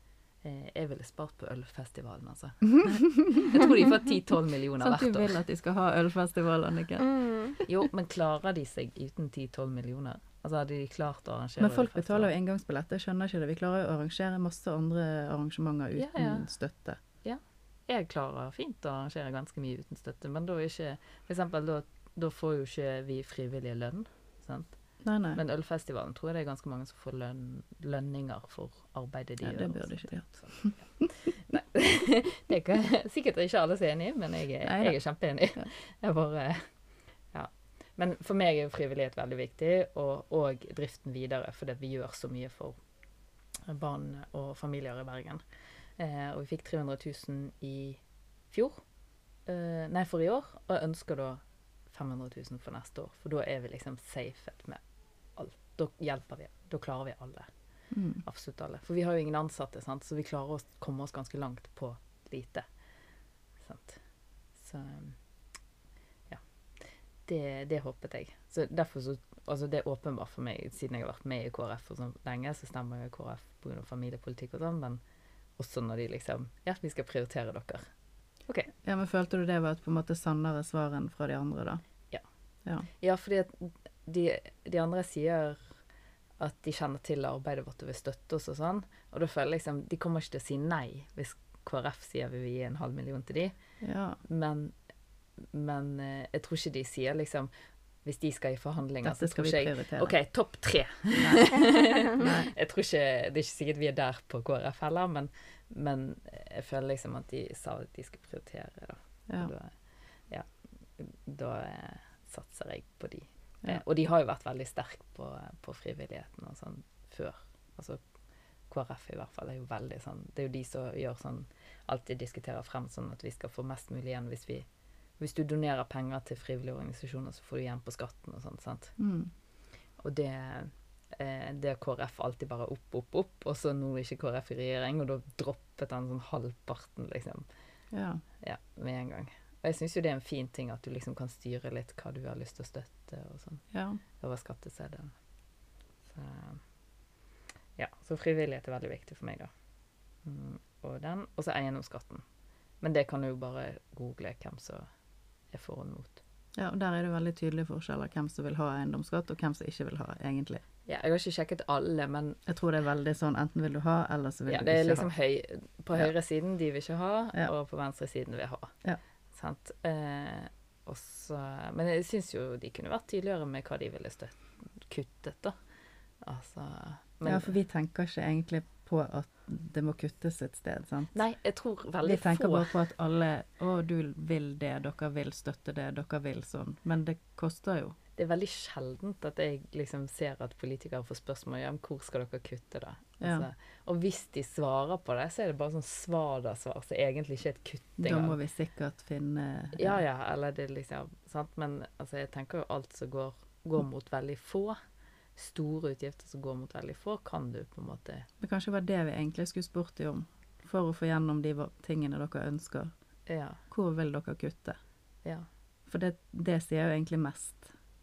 S1: Eh, jeg ville spart på ølfestivalen,
S2: [LAUGHS]
S1: altså. Jeg tror de får 10-12 millioner
S2: Sånn at
S1: hvert
S2: du
S1: år.
S2: vil at de skal ha ølfestival, Anniken.
S3: Mm.
S1: Jo, men klarer de seg uten 10-12 millioner? Altså Hadde de klart å arrangere
S2: Men folk betaler jo engangsbillett, jeg skjønner ikke det. Vi klarer jo å arrangere masse andre arrangementer
S1: Ja,
S2: uten
S1: ja.
S2: støtte.
S1: Jeg klarer fint å arrangere ganske mye uten støtte, men da er ikke For eksempel, da, da får jo ikke vi frivillige lønn. Sant?
S2: Nei, nei.
S1: Men Ølfestivalen tror jeg det er ganske mange som får lønn, lønninger for arbeidet de
S2: ja,
S1: gjør.
S2: det
S1: og sånt.
S2: burde ikke de hatt.
S1: Det kan, [LAUGHS] sikkert er ikke alle som er enig, i, men jeg, er-
S2: Neida.
S1: jeg er kjempeenig.
S2: Ja.
S1: Jeg bare Ja. Men for meg er jo frivillighet veldig viktig, og, og driften videre, fordi at vi gjør så mye for barn og familier i Bergen. Eh, og vi fikk 300 000 i fjor. Eh, nei, for i år. Og jeg ønsker da 500 000 for neste år, for da er vi liksom safet med alt. Da hjelper vi. Da klarer vi alle
S2: Mm.
S1: absolutt alle. For vi har jo ingen ansatte, sant? så vi klarer å komme oss ganske langt på lite. Sant? Så ja. Det, det håpet jeg. Så derfor så Altså, det er åpenbart for meg, siden jeg har vært med i KrF for så sånn lenge, så stemmer jeg KrF pga. familiepolitikk og sånn, men også når de liksom Ja, vi skal prioritere dere.
S2: Ja, men følte du det var et på en måte sannere svar enn fra de andre, da?
S1: Ja.
S2: Ja,
S1: Ja, fordi at de, de andre sier at de kjenner til arbeidet vårt og vil støtte oss og sånn. Og da føler jeg liksom De kommer ikke til å si nei hvis KrF sier vi vil gi en halv million til de.
S2: ja.
S1: Men, men eh, jeg tror ikke de sier liksom Hvis de skal i forhandlinger,
S2: Dette
S1: så
S2: skal vi
S1: tror ikke jeg
S2: prioritere.
S1: OK, topp tre.
S2: Nei.
S1: Jeg tror ikke, Det er ikke sikkert vi er der på KrF heller, men, men jeg føler liksom at de sa at de skulle prioritere. da.
S2: Ja.
S1: Og Da, ja, da eh, satser jeg på de.
S2: Ja.
S1: Eh, Og de har jo vært veldig sterke på, på frivilligheten og sånn før. Altså KrF i hvert fall er jo veldig sånn Det er jo de som gjør sånn Alltid diskuterer frem sånn at vi skal få mest mulig igjen hvis vi Hvis du donerer penger til frivillige organisasjoner, så får du igjen på skatten og sånt, sant.
S2: Mm.
S1: Og det eh, det har KrF alltid bare opp, opp, opp, og så nå er ikke KrF i regjering, og da droppet han sånn halvparten, liksom.
S2: Ja.
S1: Ja, med en gang. Og jeg syns jo det er en fin ting at du liksom kan styre litt hva du har lyst til å støtte og sånn,
S2: ja.
S1: over skatteseddelen. Så ja, så frivillighet er veldig viktig for meg, da. Mm, og den, og så eiendomsskatten. Men det kan du jo bare google hvem som er for og mot.
S2: Ja, og der er det veldig tydelige forskjeller hvem som vil ha eiendomsskatt, og hvem som ikke vil ha, egentlig.
S1: Ja, jeg har ikke sjekket alle, men
S2: Jeg tror det er veldig sånn enten vil du ha, eller så vil
S1: ja,
S2: du
S1: det
S2: ikke
S1: er liksom
S2: ha.
S1: høy, på
S2: Ja.
S1: høyre siden de vil ikke ha,
S2: Ja.
S1: og på venstre siden vil ha.
S2: Ja.
S1: Sant? Eh, og så- men jeg syns jo de kunne vært tydeligere med hva de ville støtt, kuttet, da. Altså men,
S2: Ja, for vi tenker ikke egentlig på at det må kuttes et sted, sant?
S1: Nei, jeg tror
S2: Vi
S1: veldig
S2: tenker
S1: få
S2: bare på at alle Å, du vil det, dere vil støtte det, dere vil sånn. Men det koster jo.
S1: Det er veldig sjeldent at jeg liksom ser at politikere får spørsmål om hvor skal dere kutte, da.
S2: Ja.
S1: Altså, og hvis de svarer på det, så er det bare sånn svada-svar som egentlig ikke er et kutt
S2: Da
S1: engang.
S2: må vi sikkert finne
S1: Ja, ja, eller det er liksom sant? Men altså, jeg tenker jo alt som går, går mot veldig få, store utgifter som går mot veldig få, kan du på en måte
S2: Men kanskje det var det vi egentlig skulle spurt dem om. For å få gjennom de va- tingene dere ønsker.
S1: Ja.
S2: Hvor vil dere kutte?
S1: ja,
S2: For det, det sier jo egentlig mest.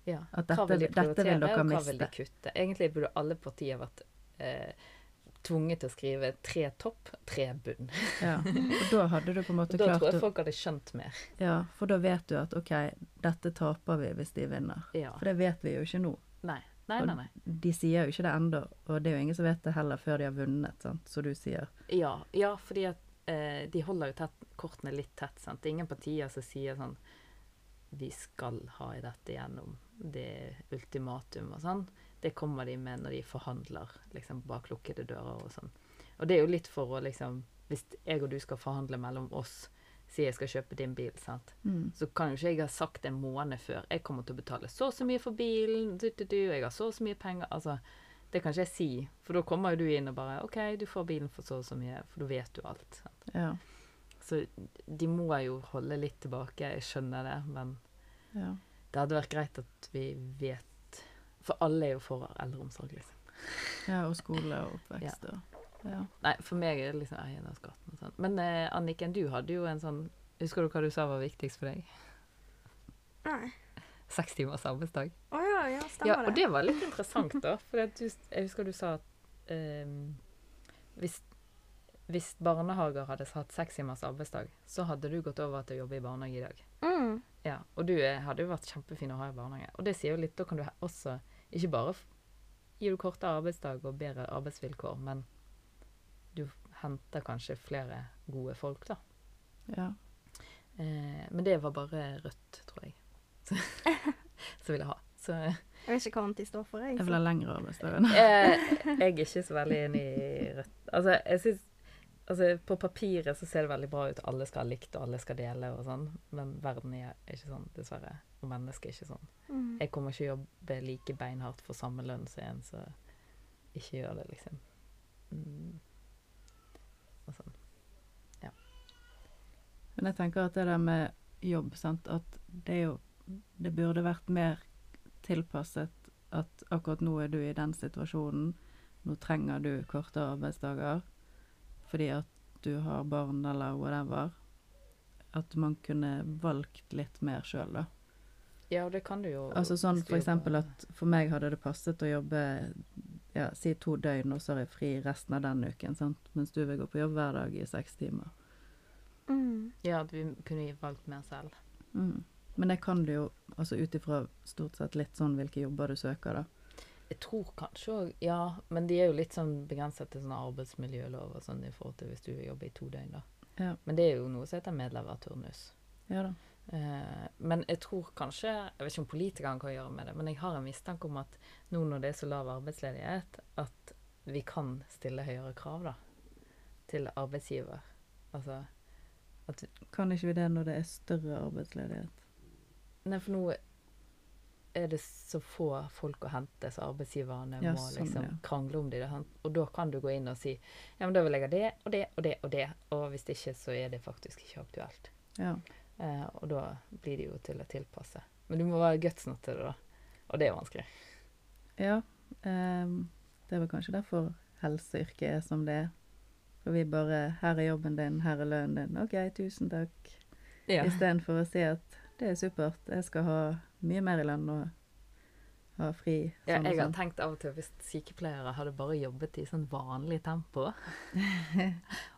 S1: ja.
S2: At dette-
S1: hva vil de
S2: dette vil
S1: prioritere,
S2: dere
S1: og hva
S2: miste.
S1: vil de kutte? Egentlig burde alle partier vært eh, tvunget til å skrive tre topp, tre bunn. [LAUGHS]
S2: Ja. Og da hadde du på en måte
S1: Da tror
S2: klart
S1: jeg
S2: å
S1: folk hadde skjønt mer.
S2: Ja, for da vet du at OK, dette taper vi hvis de vinner.
S1: Ja.
S2: For det vet vi jo ikke nå.
S1: Nei, nei, nei. nei.
S2: De sier jo ikke det ennå, og det er jo ingen som vet det heller før de har vunnet, sant, som du sier.
S1: Ja, ja fordi at eh, de holder jo tett, kortene litt tett. Sant? Det er ingen partier som sier sånn Vi skal ha dette gjennom det ultimatum og sånn. Det kommer de med når de forhandler liksom bak lukkede dører og sånn. Og det er jo litt for å liksom Hvis jeg og du skal forhandle mellom oss, sier jeg skal kjøpe din bil, sant
S2: Mm.
S1: så kan jo ikke jeg ha sagt en måned før jeg kommer til å betale så og så mye for bilen, du, du, du, og jeg har så og så mye penger. Altså, det kan ikke jeg si, for da kommer jo du inn og bare OK, du får bilen for så og så mye, for da vet du alt. Sant?
S2: Ja.
S1: Så de må jo holde litt tilbake, jeg skjønner det, men
S2: Ja.
S1: det hadde vært greit at vi vet For alle er jo for eldreomsorg, liksom.
S2: ja, og skole og oppvekst og ja.
S1: Nei, for meg er det liksom eiendomsskatten og sånn. Men eh, Anniken, du hadde jo en sånn Husker du hva du sa var viktigst for deg? [LAUGHS]
S3: Nei.
S1: Seks timers arbeidsdag.
S3: Å ja, ja,
S1: Ja,
S3: stemmer
S1: og
S3: det.
S1: det var litt interessant, da. For at du, jeg husker du sa at ehm, hvis, hvis barnehager hadde hatt seks timers arbeidsdag, så hadde du gått over til å jobbe i barnehage i dag.
S3: Mm.
S1: Ja, Og du eh, hadde jo vært kjempefin å ha i barnehage. Og det sier jo litt, da kan du he- også Ikke bare f- gir du kortere arbeidsdag og bedre arbeidsvilkår, men du henter kanskje flere gode folk, da.
S2: ja.
S1: Eh, men det var bare Rødt, tror jeg, [LAUGHS] som ville ha. Så eh,
S3: Jeg vet ikke hva anti står for, jeg.
S2: Jeg
S3: så-
S2: vil ha lengre arbeidsdager.
S1: Eh, jeg er ikke så veldig enig i Rødt. Altså, jeg synes, altså, på papiret så ser det veldig bra ut. Alle skal ha likt, og alle skal dele og sånn. Men verden er ikke sånn, dessverre. Og mennesket er ikke sånn.
S3: Mm.
S1: Jeg kommer ikke å jobbe like beinhardt for samme lønn som en som ikke gjør det, liksom. Mm. Og sånn.
S2: Men jeg tenker at det der med jobb, sant, at det er jo Det burde vært mer tilpasset at akkurat nå er du i den situasjonen. Nå trenger du kortere arbeidsdager fordi at du har barn eller whatever. At man kunne valgt litt mer sjøl, da.
S1: Ja, og det kan du jo
S2: Altså sånn
S1: hvis du
S2: for eksempel
S1: jobber-
S2: at for meg hadde det passet å jobbe ja, si to døgn, og så har jeg fri resten av den uken, sant? mens du vil gå på jobb hver dag i seks timer.
S3: Mm.
S1: Ja, at vi kunne valgt mer selv.
S2: Mm. Men det kan du jo, altså ut ifra stort sett litt sånn hvilke jobber du søker, da.
S1: Jeg tror kanskje òg Ja, men de er jo litt sånn begrenset til sånne arbeidsmiljølov og sånn i forhold til hvis du jobber i to døgn, da.
S2: Ja,
S1: Men det er jo noe som heter medleverturnus.
S2: ja da.
S1: Eh, men jeg tror kanskje Jeg vet ikke om politikerne kan gjøre med det, men jeg har en mistanke om at nå når det er så lav arbeidsledighet, at vi kan stille høyere krav da, til arbeidsgiver. Altså
S2: Kan ikke vi det når det er større arbeidsledighet?
S1: Nei, for nå er det så få folk å hente, så arbeidsgiverne
S2: Ja,
S1: må
S2: sånn,
S1: liksom
S2: ja.
S1: krangle om det. da, sant? Og da kan du gå inn og si ja, men da vil jeg ha det og det og det og det. Og hvis ikke, så er det faktisk ikke aktuelt.
S2: Ja.
S1: Eh, og da blir det jo til å tilpasse. Men du må være guts nok til det, da. Og det er vanskelig.
S2: ja ehm, det er vel kanskje derfor helseyrket er som det er. For vi bare Her er jobben din, her er lønnen din. OK, tusen takk.
S1: Ja.
S2: Istedenfor å si at det er supert, jeg skal ha mye mer i lønn og ha fri.
S1: Ja,
S2: sånn og
S1: jeg har
S2: sånn.
S1: tenkt av og til hvis sykepleiere hadde bare jobbet i sånn vanlig [LAUGHS] tempo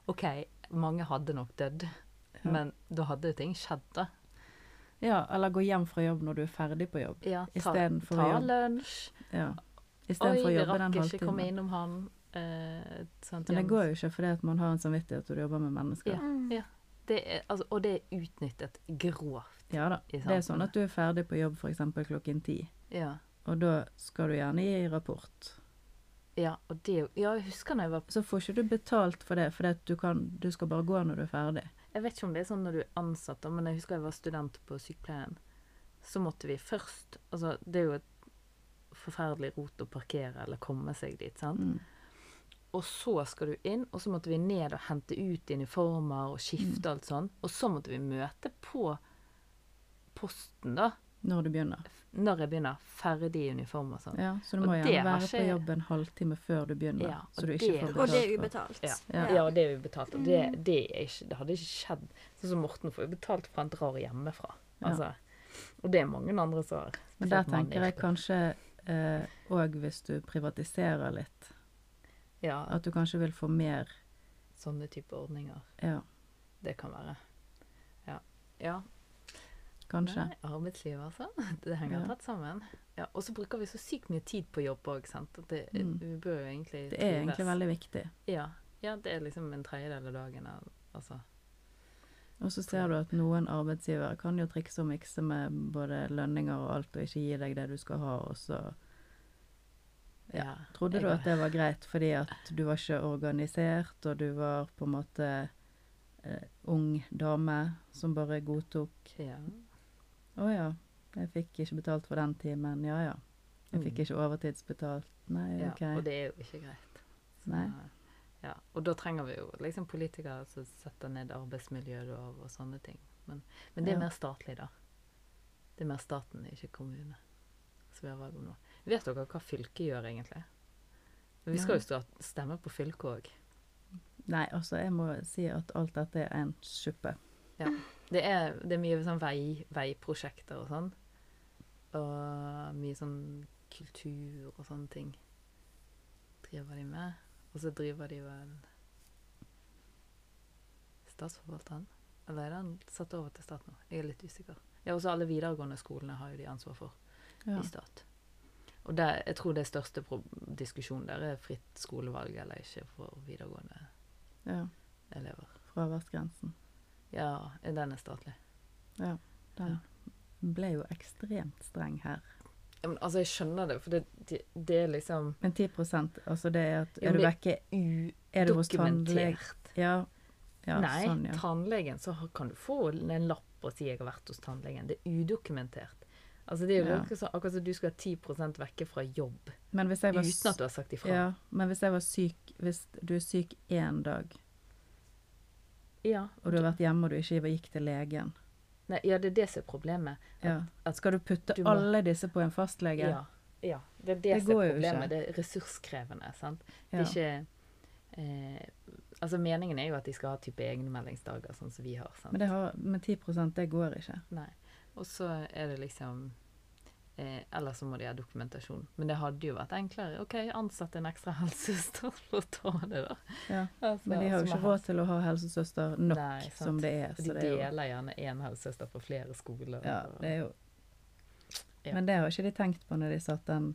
S1: OK, mange hadde nok dødd,
S2: Ja.
S1: men da hadde jo ting skjedd, da.
S2: Ja, eller gå hjem fra jobb når du er ferdig på jobb.
S1: Ja, ta,
S2: Istedenfor
S1: ta
S2: å jobbe-
S1: lunsj.
S2: Ja.
S1: Oi,
S2: Istedenfor å
S1: vi
S2: jobbe
S1: rakk
S2: den
S1: ikke komme
S2: halvtimen.
S1: innom han. Eh, sant,
S2: Men det
S1: Jens?
S2: går jo ikke fordi at man har en samvittighet og du jobber med
S1: Ja.
S2: mennesker. Ja,
S3: Mm.
S1: Ja. Det er, altså, og det er utnyttet grovt.
S2: da.
S1: I
S2: Det er
S1: samfunnet.
S2: sånn at du er ferdig på jobb f.eks. klokken ti,
S1: Ja.
S2: og da skal du gjerne gi rapport.
S1: ja, og det er jo Ja, jeg husker når jeg var
S2: Så får ikke du betalt for det, fordi at du, kan, du skal bare gå når du er ferdig.
S1: Jeg vet ikke om det er sånn når du er ansatt, da, men jeg husker jeg var student på sykepleien. Så måtte vi først Altså, det er jo et forferdelig rot å parkere eller komme seg dit, sant.
S2: Mm.
S1: Og så skal du inn, og så måtte vi ned og hente ut uniformer og skifte og alt sånn. Og så måtte vi møte på posten, da.
S2: Når du begynner.
S1: Når jeg begynner. Ferdig i uniform og sånn.
S2: Ja, så du
S1: Og
S2: må
S1: det
S2: gjerne
S1: var
S2: være på
S1: ikke-
S2: jobb en halvtime før du begynner,
S1: Ja, og
S2: så du ikke
S1: det-
S2: får
S3: Og
S2: betalt.
S3: det er
S2: for-
S3: ubetalt.
S1: Ja.
S2: Ja.
S1: Ja, og det er jo betalt. Og det, det, er ikke, det hadde ikke skjedd. Sånn som Morten får jo betalt for han drar hjemmefra.
S2: Ja.
S1: Altså, Og det er mange andre som har.
S2: Men der
S1: spesielt mannen i
S2: tenker jeg
S1: yrket.
S2: kanskje òg hvis du privatiserer litt,
S1: Ja,
S2: at du kanskje vil få mer
S1: sånne type ordninger.
S2: Ja,
S1: Det kan være. Ja. ja.
S2: kanskje.
S1: Nei, Arbeidslivet, altså. Det henger
S2: Ja.
S1: tett sammen. Ja, og så bruker vi så sykt mye tid på jobb òg, sant. At det,
S2: Mm.
S1: Vi bør jo egentlig
S2: Det er egentlig veldig viktig.
S1: Ja. ja, det er liksom en tredjedel av dagen. av- Altså.
S2: Og så ser du at noen arbeidsgivere kan jo trikse og mikse med både lønninger og alt, og ikke gi deg det du skal ha, og så Ja.
S1: Ja.
S2: Trodde
S1: Jeg
S2: du
S1: bare-
S2: at det var greit fordi at du var ikke organisert, og du var på en måte eh, ung dame som bare godtok
S1: ja.
S2: Å ja, jeg fikk ikke betalt for den timen. Ja ja. Mm. Jeg fikk ikke overtidsbetalt. Nei,
S1: ja.
S2: OK.
S1: Og det er jo ikke greit. Så,
S2: Nei.
S1: Ja. Ja, og da trenger vi jo liksom politikere som setter ned arbeidsmiljølov og sånne ting. Men, men det er
S2: Ja.
S1: mer statlig, da. Det er mer staten, ikke kommune. Som vi har valg om nå. Vet dere hva fylket gjør, egentlig? Men vi skal jo stå- stemme på fylket òg.
S2: Nei, altså, jeg må si at alt dette er en suppe.
S1: Det er, det er mye sånn vei, veiprosjekter og sånn. Og mye sånn kultur og sånne ting driver de med. Og så driver de vel Statsforvalteren? Eller er den satt over til staten nå? Jeg er litt usikker. Ja, og så alle videregående skolene har jo de ansvar for
S2: Ja.
S1: i stat. Og der, jeg tror det største pro diskusjonen der er fritt skolevalg eller ikke for videregående
S2: ja.
S1: elever.
S2: Fraværsgrensen.
S1: Ja, den er statlig.
S2: Den ble jo ekstremt streng her.
S1: Ja, men altså, jeg skjønner det, for det, det, det er liksom
S2: Men 10 altså det er at
S1: Jo,
S2: Er du
S1: men
S2: vekke Er du hos tannlege?
S1: dokumentert.
S2: Ja. ja.
S1: Nei,
S2: sånn, ja.
S1: tannlegen, så har- kan du få en lapp og si 'jeg har vært hos tannlegen'. Det er udokumentert. Altså, det er jo
S2: Ja.
S1: akkurat som- akkurat som du skal ha 10 vekke fra jobb
S2: Men hvis jeg var
S1: uten at du har sagt ifra.
S2: Ja, men hvis jeg var syk Hvis du er syk én dag,
S1: Ja,
S2: og du har vært hjemme og du ikke gikk til legen
S1: Nei, ja, det er det som er problemet.
S2: ja.
S1: at
S2: Skal du putte
S1: du må-
S2: alle disse på en fastlege?
S1: Ja. ja det er det,
S2: Det
S1: som
S2: går
S1: er
S2: jo
S1: problemet.
S2: ikke.
S1: Det er ressurskrevende. sant?
S2: Ja.
S1: Det er ikke eh, Altså, meningen er jo at de skal ha type egenmeldingsdager, sånn som vi har. sant?
S2: Men, det har, men 10 det går ikke.
S1: Nei. Og så er det liksom eh, Eller så må de ha dokumentasjon. Men det hadde jo vært enklere. OK, ansett en ekstra helsesøster [LAUGHS] for å ta det, da.
S2: Ja.
S1: Altså,
S2: Men de har
S1: så
S2: jo
S1: må
S2: ikke råd til å ha helsesøster nok
S1: Nei, sant.
S2: som det er.
S1: ha- De
S2: Så det er jo,
S1: deler gjerne én helsesøster på flere skoler.
S2: ja, det er jo.
S1: Ja.
S2: Men det har ikke de tenkt på når de satt den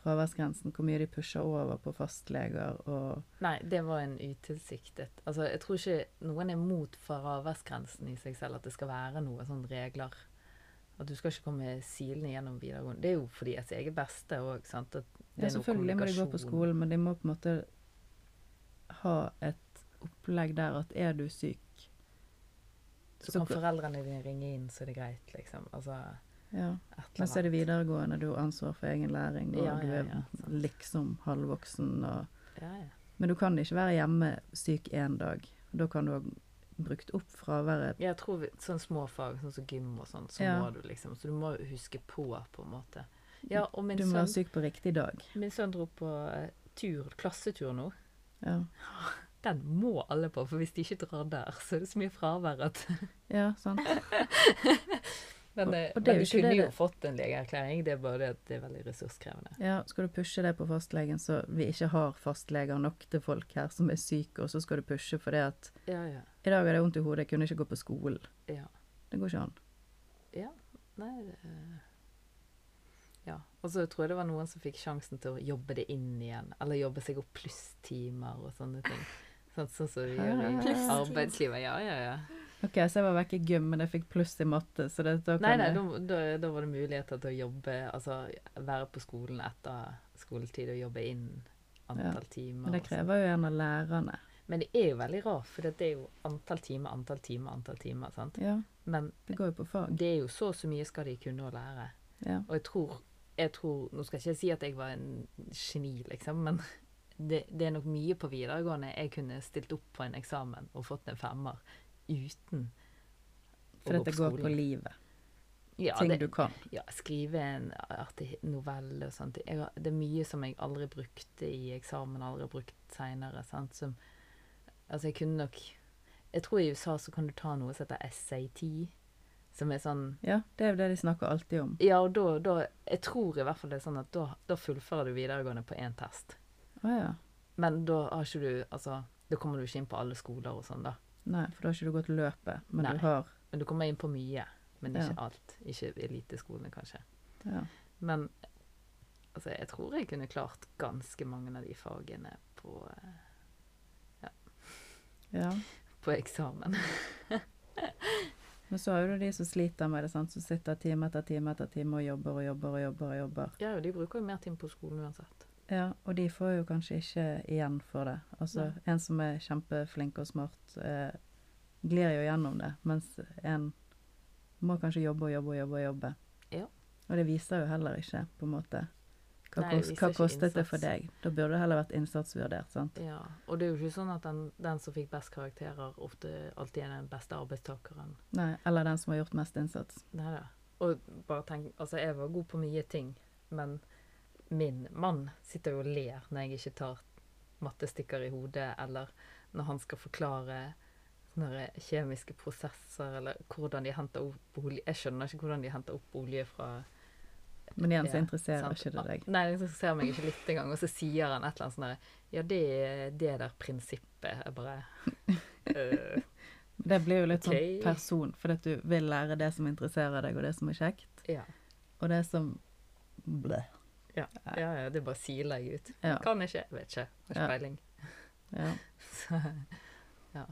S2: fraværsgrensen, hvor mye de pusher over på fastleger og
S1: Nei, det var en utilsiktet Altså, jeg tror ikke noen er mot fraværsgrensen i seg selv, at det skal være noe sånn regler. At du skal ikke komme silende gjennom videregående. Det er jo for deres eget beste òg, sant. At det er
S2: Ja,
S1: noe
S2: selvfølgelig må de gå på
S1: kommunikasjon.
S2: skolen, men de må på en måte ha et opplegg der at er du syk
S1: Så
S2: Så
S1: kan
S2: ko-
S1: foreldrene dine ringe inn, så er det greit, liksom. Altså,
S2: ja.
S1: et eller
S2: Men så er
S1: annet.
S2: det videregående, du har ansvar for egen læring, og
S1: Ja,
S2: du
S1: ja,
S2: er
S1: ja, sant.
S2: liksom halvvoksen og
S1: Ja, ja.
S2: Men du kan ikke være hjemme syk én dag. Da kan du ha brukt opp fraværet.
S1: Jeg tror vi, sånn småfag, sånn som gym og sånn, så
S2: Ja.
S1: må du liksom Så du må jo huske på, på en måte. Ja, og min
S2: Du må være
S1: sønn,
S2: syk på riktig dag.
S1: min sønn dro på eh, tur, klassetur nå.
S2: Ja,
S1: Den må alle på, for hvis de ikke drar der, så er det så mye fravær at
S2: ja sant.
S1: Men,
S2: Og-
S1: eh,
S2: og det er
S1: men
S2: jo
S1: de
S2: ikke
S1: kunne
S2: det
S1: jo
S2: det-
S1: fått en legeerklæring, det er bare det at det er veldig ressurskrevende.
S2: Ja, skal du pushe det på fastlegen, så vi ikke har fastleger nok til folk her som er syke, og så skal du pushe fordi at
S1: Ja, ja.
S2: I dag hadde jeg vondt i hodet, jeg kunne ikke gå på skolen.
S1: Ja.
S2: Det går ikke an.
S1: ja. Nei det, eh, Ja. Og så tror jeg det var noen som fikk sjansen til å jobbe det inn igjen. Eller jobbe seg opp plusstimer og sånne ting. Sånn sånn som vi gjør
S2: Ah,
S1: i
S3: Plusstimer.
S1: arbeidslivet. Ja, ja, ja.
S2: Ok, så jeg var vekk i gym, men jeg fikk pluss i matte, så det, da kan
S1: Nei, nei,
S2: jeg-
S1: da, da, da var det muligheter til å jobbe Altså være på skolen etter skoletid og jobbe inn antall timer.
S2: Men det
S1: og sånn.
S2: krever jo en av lærerne.
S1: Men det er jo veldig rart, for det er jo antall timer, antall timer, antall timer. sant?
S2: Ja,
S1: Men
S2: det går jo på fag.
S1: det er jo så og så mye skal de kunne å lære.
S2: Ja.
S1: Og jeg tror, jeg tror Nå skal ikke jeg si at jeg var en geni, liksom, men det, det er nok mye på videregående jeg kunne stilt opp på en eksamen og fått en femmer uten
S2: For dette går på livet.
S1: Ja,
S2: ting
S1: det-
S2: du kan.
S1: ja, skrive en artig novelle og sånt. Jeg, har- det er mye som jeg aldri brukte i eksamen, aldri brukt seinere. Altså, jeg kunne nok Jeg tror i USA så kan du ta noe som heter SAT, som er sånn
S2: Ja, det er jo det de snakker alltid om.
S1: Ja, og da, da Jeg tror i hvert fall det er sånn at da, da fullfører du videregående på én test.
S2: Å ja.
S1: Men da har ikke du Altså, da kommer du ikke inn på alle skoler og sånn, da.
S2: Nei, for da har ikke du gått løpet, men
S1: Nei.
S2: du har
S1: Men du kommer inn på mye, men ikke
S2: Ja.
S1: alt. Ikke eliteskolene, kanskje.
S2: ja.
S1: Men altså, jeg tror jeg kunne klart ganske mange av de fagene på, eh,
S2: ja.
S1: på eksamen.
S2: Men så har jo du de som sliter med det, sant, som sitter time etter time etter time og jobber og jobber og jobber. og jobber.
S1: [LAUGHS] Ja, og de bruker jo mer tid på skolen uansett.
S2: Ja, Og de får jo kanskje ikke igjen for det. Altså, En som er kjempeflink og smart, eh, glir jo gjennom det, mens en må kanskje jobbe og jobbe og jobbe. Og jobbe.
S1: Ja.
S2: Og det viser jo heller ikke på en måte Hva,
S1: Nei, det
S2: kost,
S1: viser
S2: hva
S1: ikke
S2: kostet det
S1: innsats.
S2: for deg? Da burde det heller vært innsatsvurdert. sant?
S1: Ja, og det er jo ikke sånn at den, den som fikk best karakterer, ofte alltid er den beste arbeidstakeren.
S2: Nei, Eller den som har gjort mest innsats.
S1: Nei da. Og bare tenk, altså jeg var god på mye ting, men min mann sitter jo og ler når jeg ikke tar mattestikker i hodet, eller når han skal forklare sånne kjemiske prosesser, eller hvordan de henter opp olje. Jeg skjønner ikke hvordan de henter opp olje fra
S2: Men igjen så
S1: Ja,
S2: interesserer
S1: sant.
S2: ikke det deg.
S1: Nei, det interesserer meg ikke litt engang. Og så sier han et eller annet sånn der Ja, det er det der prinsippet. Jeg
S2: [LAUGHS]
S1: bare øh,
S2: Det blir jo litt sånn
S1: Ok.
S2: person, fordi at du vil lære det som interesserer deg, og det som er kjekt,
S1: ja.
S2: og det som ble.
S1: ja, ja, det bare siler jeg ut.
S2: Ja.
S1: Kan ikke, vet ikke. Har ikke
S2: Ja.
S1: peiling.
S2: Ja.
S1: Så, [LAUGHS] ja.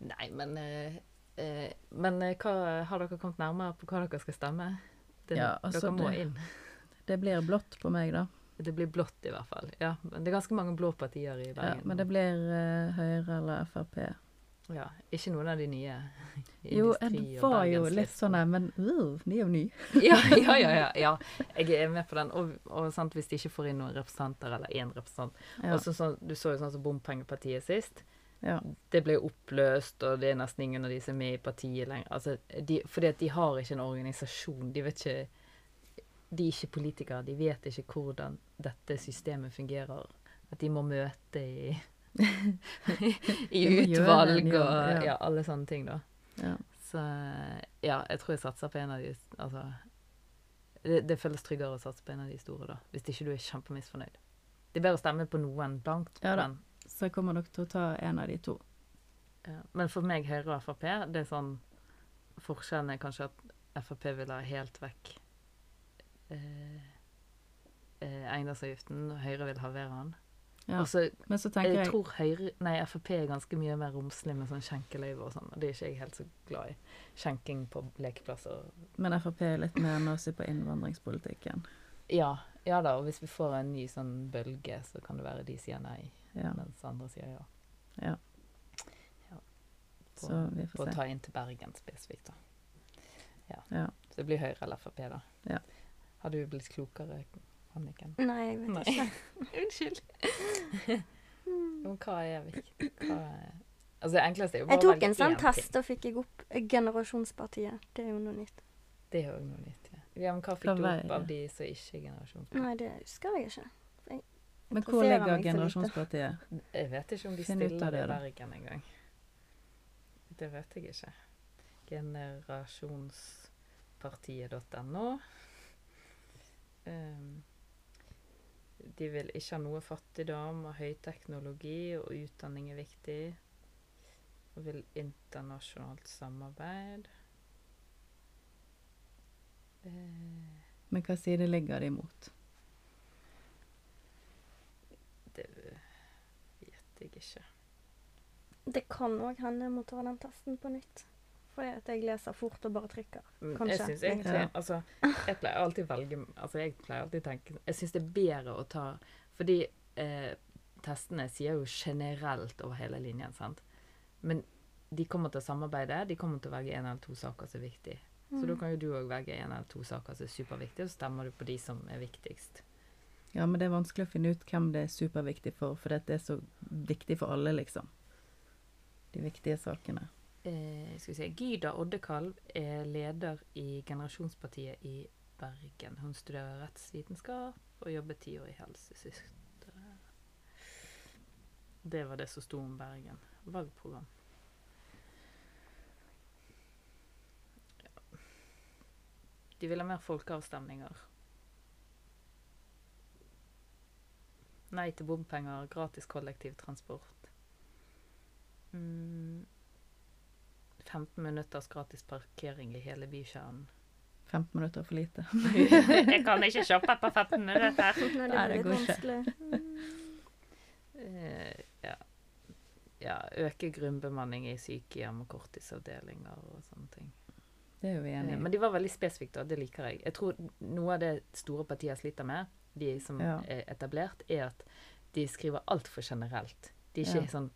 S1: Nei, men eh, eh, Men eh, hva, har dere kommet nærmere på hva dere skal stemme? Det,
S2: Ja, altså,
S1: dere må
S2: det-
S1: inn.
S2: Det blir blått på meg, da.
S1: Det blir blått i hvert fall. Ja, men det er ganske mange blå partier i
S2: Ja,
S1: Bergen.
S2: men det blir eh, Høyre eller Frp.
S1: Ja, ikke noen av de nye. [LAUGHS]
S2: Jo,
S1: Industri
S2: det
S1: og
S2: var jo
S1: Bergenslisten.
S2: litt sånn der, men uh, ny og ny.
S1: [LAUGHS] ja, ja, ja, ja, ja. Jeg er med på den. Og, og sant, hvis de ikke får inn noen representanter, eller én representant
S2: Ja.
S1: Og så sånn, Du så jo sånn som Bompengepartiet sist.
S2: Ja.
S1: Det ble jo oppløst, og det er nesten ingen av de som er med i partiet lenger. Altså, de, fordi at de har ikke en organisasjon. De vet ikke De er ikke politikere. De vet ikke hvordan dette systemet fungerer. At de må møte i [LAUGHS] I
S2: De må gjøre
S1: utvalg
S2: en
S1: og
S2: jobb, ja.
S1: ja, alle sånne ting, da.
S2: Ja.
S1: Så ja, jeg tror jeg satser på en av de Altså det, det føles tryggere å satse på en av de store, da. Hvis ikke du er kjempemisfornøyd. Det er bedre å stemme på noen blankt,
S2: Ja da.
S1: men,
S2: Så jeg kommer nok til å ta en av de to.
S1: ja. men for meg, Høyre og Frp, det er sånn Forskjellen er kanskje at Frp vil ha helt vekk eh, eh, eiendomsavgiften, og Høyre vil halvere den.
S2: Ja.
S1: Og så Eh,
S2: Men så
S1: jeg,
S2: tenker jeg
S1: tror Høyre Nei, Frp er ganske mye mer romslig med sånn skjenkeløyve og sånn, og det er ikke jeg helt så glad i. Skjenking på lekeplasser
S2: Men Frp er litt mer nazi på innvandringspolitikken.
S1: Ja, ja da, og hvis vi får en ny sånn bølge, så kan det være de sier nei,
S2: Ja.
S1: mens andre sier ja. På-
S2: Så vi
S1: På å
S2: får se.
S1: ta inn til Bergen spesifikt, da.
S2: Ja.
S1: Så det blir Høyre eller Frp, da.
S2: Ja.
S1: Har du blitt klokere, Anniken?
S3: Nei, jeg vet
S1: Nei.
S2: [LAUGHS]
S3: ikke.
S1: [LAUGHS] Unnskyld. Men hva er viktig? Hva er... Altså, det enkleste er jo bare
S3: Jeg
S1: å
S3: tok
S1: velge
S3: en sånn
S1: én ting.
S3: test og fikk jeg opp Generasjonspartiet. Det er jo noe nytt.
S1: Det er jo noe nytt, ja. ja men hva fikk
S2: Hva
S1: du
S2: veier
S1: opp av
S2: det?
S1: de som ikke er generasjonspartier?
S3: Nei, det husker jeg ikke.
S2: Men hvor
S3: interesserer
S2: ligger
S3: meg så lite.
S2: generasjonspartiet?
S1: Jeg vet ikke om de
S2: Finn ut av
S1: stiller
S2: det,
S1: i
S2: da.
S1: Bergen engang. Det vet jeg ikke. Generasjonspartiet.no. Ehm, de vil ikke ha noe fattigdom, og høyteknologi og utdanning er viktig. Og vil internasjonalt samarbeid. Eh,
S2: Men hva side ligger de mot?
S1: det vet jeg ikke.
S3: Det kan òg hende jeg må ta den testen på nytt. Fordi at jeg leser fort og bare trykker.
S1: Mm, Jeg
S3: Kanskje,
S1: synes
S3: litt.
S1: egentlig,
S2: Ja.
S1: altså, jeg pleier alltid velge, altså jeg pleier alltid tenke, jeg synes det er bedre å ta, fordi eh, testene sier jo generelt over hele linjen, sant? Men de kommer til å samarbeide, de kommer til å velge en eller to saker som er viktig. Så da kan jo du også velge en eller to saker som er superviktige, og så stemmer du på de som er viktigst.
S2: Ja, men det er vanskelig å finne ut hvem det er superviktig for, for dette er så viktig for alle, liksom. De viktige sakene.
S1: Eh, skal vi se, Gyda Oddekalv er leder i Generasjonspartiet i Bergen. Hun studerer rettsvitenskap og jobber ti år i helsesøster. Det var det som sto om Bergen. Valgprogram. Ja. De vil ha mer folkeavstemninger. Nei til bompenger, gratis kollektivtransport. Mm. 15 minutters gratis parkering i hele bykjernen.
S2: 15 minutter er for lite.
S1: [LAUGHS] Jeg kan ikke shoppe på 15 minutter.
S3: Nei, det
S2: Nei,
S3: blir
S2: det
S3: litt
S2: går ikke.
S3: vanskelig.
S1: Eh, ja. ja. Øke grunnbemanning i sykehjem og korttidsavdelinger og sånne ting.
S2: Det er jo vi
S1: Eh,
S2: enige
S1: Men
S2: i.
S1: de var veldig spesifikke, og det liker jeg. Jeg tror noe av det store partier sliter med, de som
S2: Ja.
S1: er etablert, er at de skriver altfor generelt. De er ikke
S2: Ja.
S1: sånn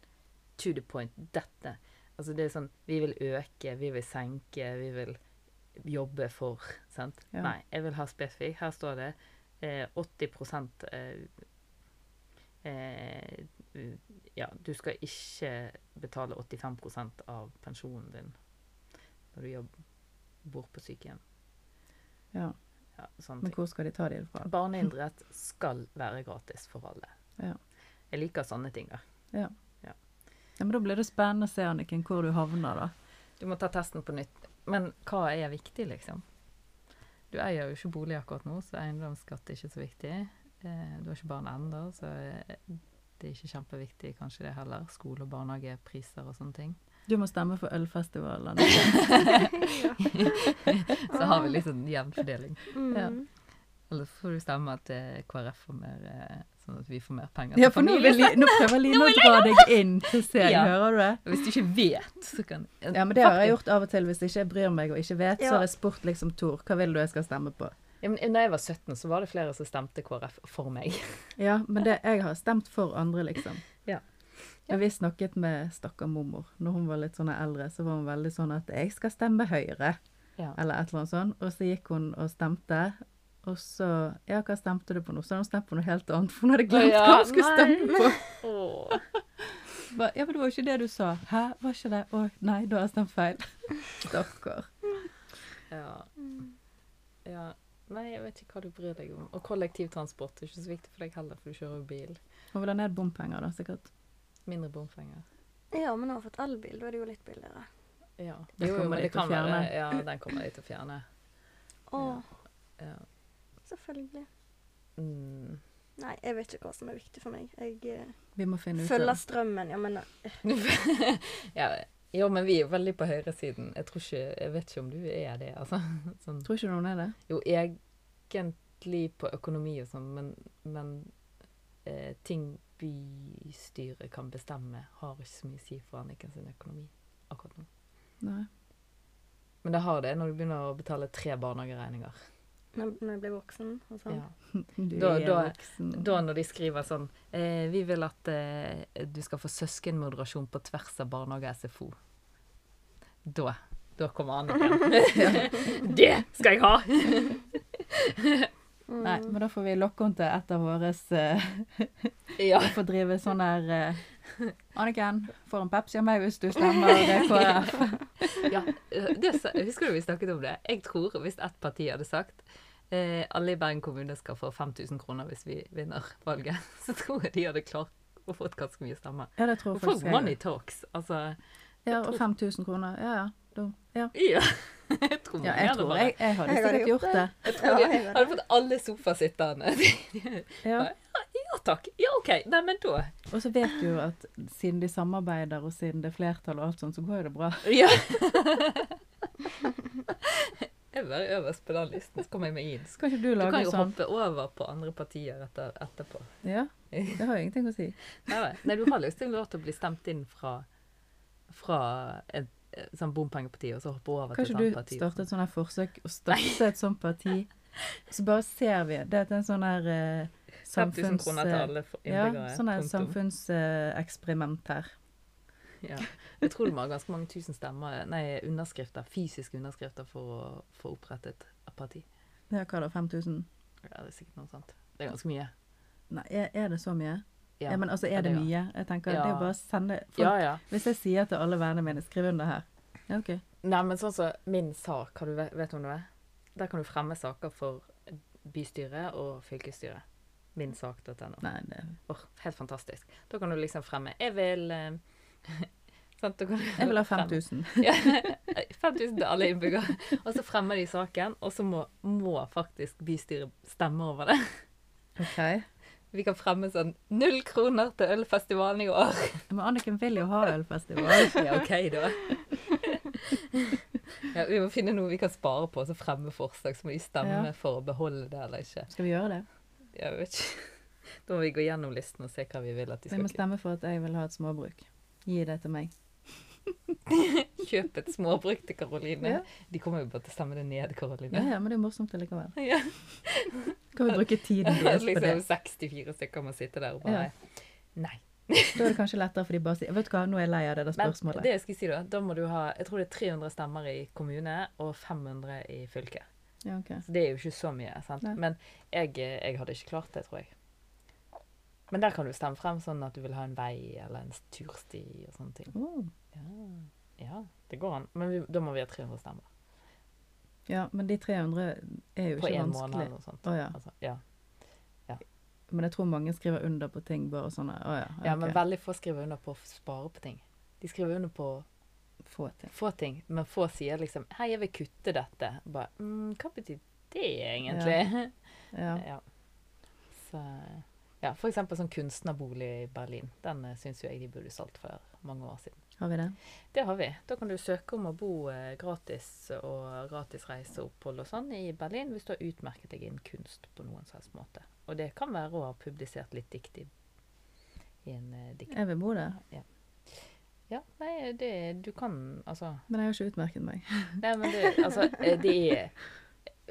S1: to the point. Dette. Altså det er sånn Vi vil øke, vi vil senke, vi vil jobbe for. Sant?
S2: Ja.
S1: Nei, jeg vil ha spesifikt. Her står det eh, eh, 80 eh, eh, u- Ja, du skal ikke betale 85 av pensjonen din når du jobb, bor på sykehjem.
S2: Ja.
S1: Ja, sånne
S2: Men
S1: ting.
S2: hvor skal de ta de det fra?
S1: Barneidrett skal være gratis for alle.
S2: Ja.
S1: Jeg liker sånne ting. da.
S2: Ja, men da blir det spennende å se, Anniken, hvor du havner, da.
S1: Du må ta testen på nytt. Men hva er viktig, liksom? Du eier jo ikke bolig akkurat nå, så eiendomsskatt er ikke så viktig. Eh, Du har ikke barn ennå, så eh, det er ikke kjempeviktig kanskje det heller. Skole og barnehagepriser og sånne ting. [LAUGHS]
S2: Du må stemme for ølfestivalen.
S1: Så har vi litt sånn jevn fordeling.
S3: Mm.
S2: Ja.
S1: Eller så får du stemme at eh, KrF får mer, eh, sånn at vi får mer penger
S2: [LAUGHS] Ja, for nå, vil, Li- nå prøver Line å dra deg inn til seg,
S1: Ja.
S2: hører du det?
S1: Hvis du ikke vet, så kan
S2: Ja, men det har jeg gjort av og til hvis ikke jeg bryr meg og ikke vet, så
S3: Ja.
S2: har jeg spurt liksom Tor, hva vil du jeg skal stemme på?
S1: Ja, men Da jeg var 17, så var det flere som stemte KrF for meg.
S2: Ja, men det, jeg har stemt for andre, liksom.
S1: Ja.
S2: [LAUGHS] Ja, vi snakket med stakkar mormor. Når hun var litt sånn eldre, så var hun veldig sånn at 'jeg skal stemme Høyre',
S1: [LAUGHS] Ja.
S2: eller et eller annet sånt. Og så gikk hun og stemte, og så 'ja, hva stemte du på nå?' Så hadde hun stemt på noe helt annet, for hun hadde glemt
S1: ja,
S2: hva hun skulle
S1: nei.
S2: stemme på.
S1: Åh.
S2: Ba, ja, men det var jo ikke det du sa. Hæ, var ikke det? Å, nei, da har jeg stemt
S1: [LAUGHS]
S2: feil. Stakkar.
S1: Ja.
S3: Mm.
S1: ja. Nei, jeg vet ikke hva du bryr deg om. Og kollektivtransport er ikke så viktig for deg heller, for du kjører jo bil.
S2: Hun vil ha ned bompenger, da, sikkert.
S1: Mindre bompenger.
S3: ja, men nå har jeg fått elbil, da er det jo litt billigere.
S1: Ja.
S2: Den kommer
S1: men
S2: de til å
S1: kan være-
S2: fjerne.
S1: Ja, den kommer de til å fjerne.
S3: Å,
S1: Ja.
S3: selvfølgelig.
S1: Mm. [LAUGHS]
S3: Nei, jeg vet ikke hva som er viktig for meg. Jeg eh,
S2: Vi må finne ut av
S3: følger
S2: det.
S3: strømmen, ja, men
S1: ja. Jo, men vi er veldig på høyresiden. Jeg tror ikke Jeg vet ikke om du er det, altså. [LAUGHS] Sånn.
S2: Tror ikke noen er det.
S1: Jo, egentlig på økonomi og sånn, men, men eh, ting bystyret kan bestemme, har ikke så mye å si for Anniken sin økonomi akkurat nå.
S2: Nei.
S1: Men det har det når du begynner å betale tre barnehageregninger.
S3: når når jeg blir voksen og sånn.
S1: Ja.
S2: Du
S1: Da-
S2: er
S1: da-
S2: voksen.
S1: Da når de skriver sånn eh, Vi vil at eh, du skal få søskenmoderasjon på tvers av barnehage og SFO. Da. Da kommer
S2: [LAUGHS]
S1: Anniken. det skal jeg ha!
S3: Mm.
S2: Nei, men da får vi lokke henne til et av våre [LAUGHS] uh,
S1: Ja.
S2: Får drive sånn her eh, Anniken, får en Pepsi av meg hvis du stemmer eh,
S1: [LAUGHS]
S2: KrF.
S1: ja eh, det, sa- husker du vi snakket om det? Jeg tror hvis ett parti hadde sagt eh, alle i Bergen kommune skal få 5000 kroner hvis vi vinner valget, [LAUGHS] så tror jeg de hadde klart å fått ganske mye stemmer.
S2: Ja, det tror
S1: Og
S2: jeg
S1: Folk
S2: faktisk jeg.
S1: money talks. Altså
S2: Ja, og 5000 kroner. Ja, ja. Da- ja.
S1: Ja. [LAUGHS] Jeg tror
S2: ja
S1: mange
S2: jeg
S1: hadde
S2: tror
S1: bare-
S2: jeg, jeg hadde
S3: Jeg hadde
S2: sikkert gjort
S3: gjort
S2: det.
S1: [LAUGHS] Jeg tror
S3: Ja,
S1: de
S3: jeg gjør
S1: hadde fått alle sofasitterne.
S2: Ja.
S1: [LAUGHS] Ja takk. Ja, OK. Nei, men da
S2: Og så vet du jo at siden de samarbeider, og siden det er flertall og alt sånt, så går jo det bra.
S1: Ja. [LAUGHS] Jeg er bare øverst på den listen, så kommer jeg meg inn. Så
S2: Skal ikke du
S1: Du
S2: lage
S1: kan jo
S2: sånn?
S1: hoppe over på andre partier etter, etterpå.
S2: Ja, det har jo ingenting å
S1: [LAUGHS]
S2: si.
S1: Nei, nei. nei, du har lyst til å bli stemt inn fra, fra et et sånt bompengeparti, og så hoppe over til
S2: Kanskje
S1: et annet
S2: du
S1: parti.
S2: starter et sånt her forsøk
S1: [LAUGHS]
S2: og starter et sånt parti? Så bare ser vi. Det er en sånn her eh,
S1: 5000
S2: samfunns...
S1: kroner til alle for-
S2: Ja,
S1: innbyggere.
S2: sånn her
S1: punktum.
S2: samfunnseksperiment her.
S1: Ja. [LAUGHS] Jeg tror det må ha ganske mange tusen stemmer, nei, underskrifter, fysiske underskrifter for å få opprettet et parti.
S2: Ja, hva da, 5000?
S1: Ja, det er sikkert noe sånt. Det er ganske mye.
S2: Nei, er, er det så mye? Ja, men altså,
S1: Ja,
S2: er det
S1: det er-
S2: mye? Jeg tenker, det er
S1: Ja.
S2: jo bare å sende folk.
S1: ja, ja.
S2: Hvis jeg sier til alle vennene mine, skriv under her. Ja, ok.
S1: Nei, men sånn som min sak, har du, ve- vet du om det er? Der kan du fremme saker for bystyret og fylkesstyret. Minsak.no.
S2: Nei, det...
S1: Åh, helt fantastisk. Da kan du liksom fremme Jeg vil eh, [LAUGHS] sant, da kan du
S2: Jeg vil ha
S1: fremme-
S2: 5000.
S1: Ja, [LAUGHS] 5000 til alle innbyggere. Og så fremmer de saken, og så må, må faktisk bystyret stemme over det.
S2: Ok.
S1: Vi kan fremme sånn null kroner til ølfestivalen i år.
S2: [LAUGHS] Men Anniken vil jo ha ølfestival.
S1: Ja, OK, da. [LAUGHS] Ja, vi må finne noe vi kan spare på, og så fremme forslag. Så må de stemme
S2: Ja.
S1: for å beholde det eller ikke.
S2: Skal vi gjøre det?
S1: Jeg vet ikke. [LAUGHS] Da må vi gå gjennom listen og se hva vi vil at de
S2: Vi må
S1: skal
S2: stemme for at jeg vil ha et småbruk. Gi det til meg.
S1: kjøpe et småbruk til Karoline.
S2: Ja.
S1: De kommer jo bare til å stemme det ned,
S2: Ja,
S1: Karoline.
S2: ja, men det er jo morsomt likevel.
S1: [LAUGHS] Ja.
S2: Kan vi bruke
S1: [LAUGHS]
S2: tiden deres på det?
S1: liksom 64 stykker må sitte der og bare Nei.
S2: Da er det kanskje lettere for de bare sier Vet du hva, nå er jeg lei av det der
S1: Men
S2: spørsmålet.
S1: det jeg skal si da, da må du ha Jeg tror det er 300 stemmer i kommune og 500 i fylke.
S2: Ja, ok.
S1: Så det er jo ikke så mye. sant?
S2: Nei.
S1: Men jeg, jeg hadde ikke klart det, tror jeg. Men der kan du stemme frem sånn at du vil ha en vei eller en tursti og sånne ting.
S2: Åh.
S1: Ja, ja det går an. Men vi, da må vi ha 300 stemmer.
S2: Ja, men de 300 er jo
S1: På
S2: ikke
S1: én måned
S2: vanskelig.
S1: eller noe sånt.
S2: Å ja.
S1: Altså, ja.
S2: Men jeg tror mange skriver under på ting bare sånn Å ja.
S1: ja,
S2: ok.
S1: men veldig få skriver under på å spare på ting. De skriver under på
S2: Få til.
S1: få ting, men få sier liksom 'Hei, jeg vil kutte dette'. Bare mm, Hva betyr det [LAUGHS] egentlig?
S2: Ja.
S1: Ja. Så, ja, for eksempel sånn kunstnerbolig i Berlin. Den eh, syns jo jeg de burde solgt for mange år siden.
S2: Har vi det?
S1: Det har vi. Da kan du søke om å bo eh, gratis og gratis reise og opphold og sånn i Berlin hvis du har utmerket deg innen kunst på noen som helst måte. Og det kan være å ha publisert litt dikt i, i en eh, dikt.
S2: Jeg vil bo der,
S1: Ja, nei, det Du kan altså
S2: men jeg har ikke utmerket meg.
S1: Nei, men det, altså, eh, det er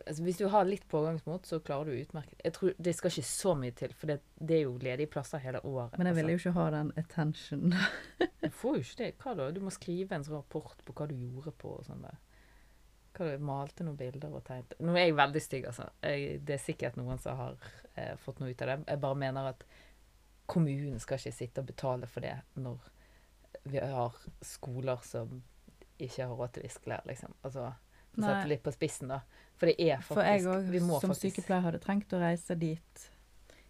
S1: altså, Hvis du har litt pågangsmot, så klarer du utmerket Jeg tror Det skal ikke så mye til, for det, det er jo ledige plasser hele året.
S2: Men jeg ville jo ikke ha den
S1: [LAUGHS]
S2: attention.
S1: altså. Du får jo ikke det. Hva da? Du må skrive en sånn rapport på hva du gjorde på og sånn der. Hva du malte noen bilder og tegnet Nå er jeg veldig stygg, altså. Jeg, det er sikkert noen som har eh, fått noe ut av det. Jeg bare mener at kommunen skal ikke sitte og betale for det når vi har skoler som ikke har råd til viskelær, liksom. Altså, for å
S2: Nei.
S1: sette det litt på spissen, da. For det er faktisk
S2: For jeg òg,
S1: vi må
S2: som
S1: faktisk-
S2: sykepleier, hadde trengt å reise dit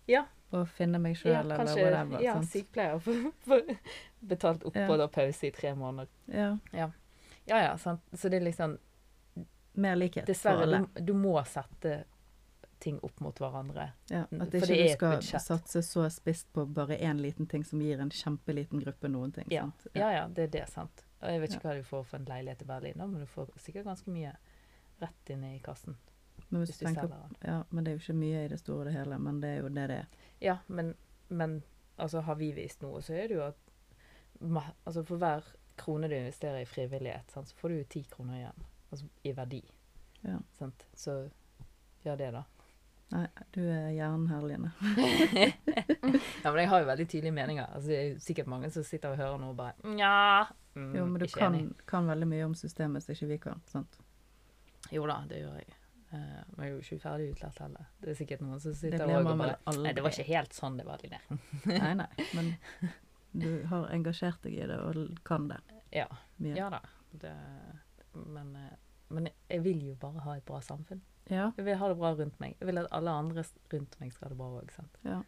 S1: Ja.
S2: og finne meg
S1: Ja,
S2: sjøl eller
S1: kanskje
S2: whatever.
S1: ja,
S2: sant?
S1: sykepleier får får betalt opphold og pause i tre måneder.
S2: Ja.
S1: Ja ja, sant. Så det er liksom
S2: Mer likhet for
S1: Dessverre,
S2: alle.
S1: du, du må sette ting opp mot hverandre.
S2: Ja,
S1: Mm,
S2: at
S1: for
S2: ikke
S1: det er
S2: du
S1: et
S2: skal
S1: budsjett.
S2: satse så spisst på bare én liten ting som gir en kjempeliten gruppe noen ting.
S1: Ja.
S2: Sant?
S1: Ja ja, det er det, sant. Og jeg vet ikke hva du får for en leilighet i Berlin, da, men du får sikkert ganske mye rett inn i kassen
S2: Men, hvis
S1: hvis
S2: du
S1: du
S2: tenker,
S1: selger den.
S2: ja, men det er jo ikke mye i det store og det hele, men det er jo det det er.
S1: Ja, men, men altså, har vi vist noe, så er det jo at ma- altså, for hver krone du investerer i frivillighet, sant, så får du jo ti kroner igjen altså, i verdi.
S2: Ja.
S1: Sant? Så gjør det, da.
S2: Nei, du er hjernen her, Line.
S1: Mm, Ja, men jeg har jo veldig tydelige meninger. Altså, det er jo sikkert mange som sitter og hører noe og bare Nja. Mm,
S2: Jo, men du
S1: ikke
S2: kan,
S1: enig.
S2: kan veldig mye om systemet som ikke vi kan. sant?
S1: Jo da, det gjør jeg. Eh, men jeg er jo ikke ferdig utlært heller. Det er sikkert noen som
S2: Det
S1: sitter
S2: blir
S1: og
S2: man vel
S1: bare
S2: aldri.
S1: Nei, det var ikke helt sånn det var, Line.
S2: Nei, nei,
S1: [LAUGHS]
S2: men du har engasjert deg i det og l- kan det.
S1: Ja.
S2: Mye.
S1: ja da. Det, men, eh, men jeg vil jo bare ha et bra samfunn.
S2: Ja,
S1: Jeg vil ha det bra rundt meg. Jeg vil at alle andre s- rundt meg skal ha det bra òg.
S2: ja.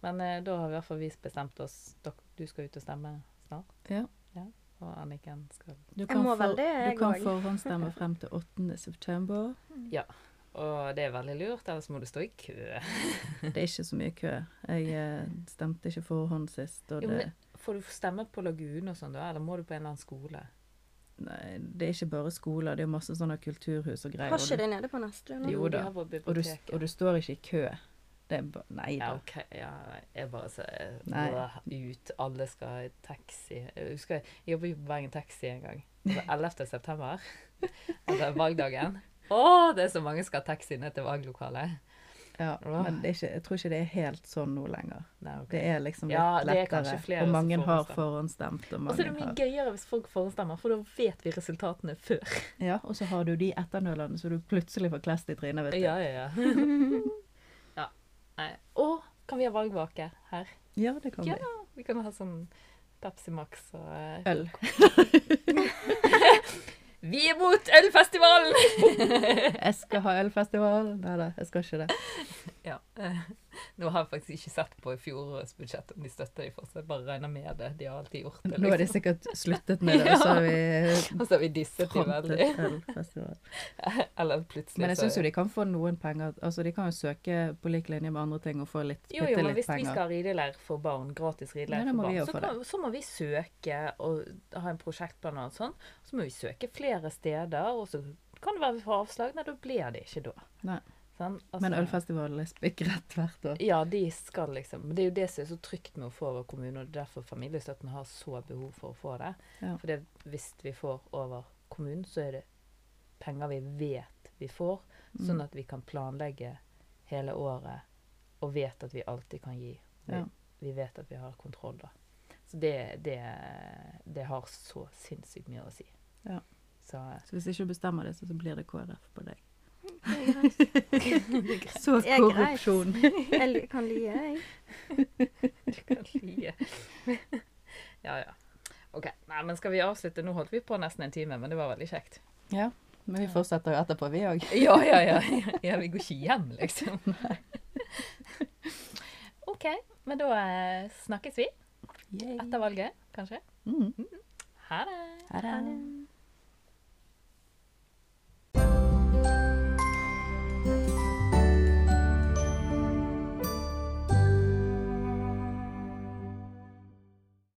S1: Men eh, da har i hvert fall vi bestemt oss. Dok du skal ut og stemme snart.
S2: Ja.
S1: Og Anniken skal
S2: Du
S3: Jeg må
S2: for-
S3: vel det, jeg
S2: Du kan
S3: òg.
S2: forhåndsstemme frem til 8. september.
S1: Og det er veldig lurt, ellers må du stå i kø.
S2: Det er ikke så mye kø. Jeg eh, stemte ikke forhånd sist, og
S1: Jo,
S2: det,
S1: men Får du stemme på Lagunen og sånn da, eller må du på en eller annen skole?
S2: nei, det er ikke bare skoler, det er masse sånne kulturhus og greier.
S3: Har
S2: og du-
S3: ikke det nede på Nesttun? nå?
S2: Jo
S1: De
S2: da.
S1: har på
S2: Og du,
S1: biblioteket.
S2: og du står ikke i kø. Det er ba, nei
S1: Ja,
S2: da.
S1: OK. Ja, jeg bare så jeg,
S2: Nei.
S1: Blah, ut. Alle skal i taxi. Jeg husker jeg jobbet jo på Bergen Taxi en gang. Det var 11. september. [LAUGHS] Altså valgdagen. Å, det er så mange som skal ha taxi ned til valglokalet.
S2: Ja, men det er ikke, jeg tror ikke det er helt sånn nå lenger.
S1: Nei, ok.
S2: Det er liksom litt
S1: Ja, det er
S2: lettere.
S1: kanskje flere
S2: og
S1: som
S2: mange har
S1: forhåndsstemt.
S2: forhåndsstemt. Og,
S1: Og så
S2: mange
S1: er det mye
S2: har,
S1: gøyere hvis folk forhåndsstemmer, for da vet vi resultatene før.
S2: ja, og så har du de etternølene som du plutselig får klest i trynet, vet du.
S1: Ja, ja, ja.
S2: [LAUGHS]
S1: ja. Nei. Og kan vi ha valgvake her?
S2: Ja, det kan
S1: Ja.
S2: vi.
S1: Vi kan ha sånn Pepsi Max og eh,
S2: Øl.
S1: Vi er mot ølfestivalen!
S2: Jeg skal ha ølfestival. Nei da, jeg skal ikke det.
S1: Ja. [LAUGHS] eh, Nå har jeg faktisk ikke sett på i fjorårets budsjett om de støtter dem fortsatt. Jeg bare regner med det. De har alltid gjort det.
S2: Nå har de
S1: Liksom.
S2: sikkert sluttet
S1: [LAUGHS]
S2: med det, og så har vi
S1: Og så har vi disset dem veldig.
S2: frontet ølfestival.
S1: [LAUGHS] Eller plutselig
S2: Men jeg
S1: så-
S2: syns jo de kan få noen penger. Altså, de kan jo søke på lik linje med andre ting og få litt,
S1: Jo,
S2: bitte
S1: jo, men
S2: litt
S1: hvis vi
S2: penger.
S1: skal ha rideleir for barn, gratis
S2: Ja,
S1: rideleir
S2: da må
S1: for
S2: vi
S1: barn,
S2: jo
S1: så,
S2: få
S1: kan, så må vi søke og ha en prosjektplan og sånn. Så må vi søke flere steder, og så kan det være vi får avslag. Nei, da blir det ikke da.
S2: Nei.
S1: Sånn, altså-
S2: Men ølfestivalen er spikkret hvert år.
S1: Ja, de skal liksom. Men det er jo det som er så trygt med å få over kommunen, og det er derfor familiestøtten har så behov for å få det.
S2: Ja.
S1: For det, hvis vi får over kommunen, så er det penger vi vet vi får, sånn
S2: Mm.
S1: at vi kan planlegge hele året og vet at vi alltid kan gi. Vi,
S2: Ja.
S1: vi vet at vi har kontroll da. Så det, det, det har så sinnssykt mye å si.
S2: Ja.
S1: Så
S2: Så hvis ikke du bestemmer det, så så blir det KrF på deg.
S3: Det er greit.
S2: [LAUGHS] Så
S3: Det er greit.
S2: korrupsjon.
S3: Jeg li- kan lie, jeg.
S1: du kan lie. [LAUGHS] ja, ja. OK. Nei, men skal vi avslutte? Nå holdt vi på nesten en time, men det var veldig kjekt.
S2: Ja, men vi fortsetter jo etterpå, vi òg.
S1: Ja, ja, ja. [LAUGHS] ja vi går ikke hjem, [LAUGHS] liksom. OK. Men da eh, snakkes vi etter valget, kanskje.
S2: Mm.
S1: Ha det.
S2: Ha det.
S3: Ha det.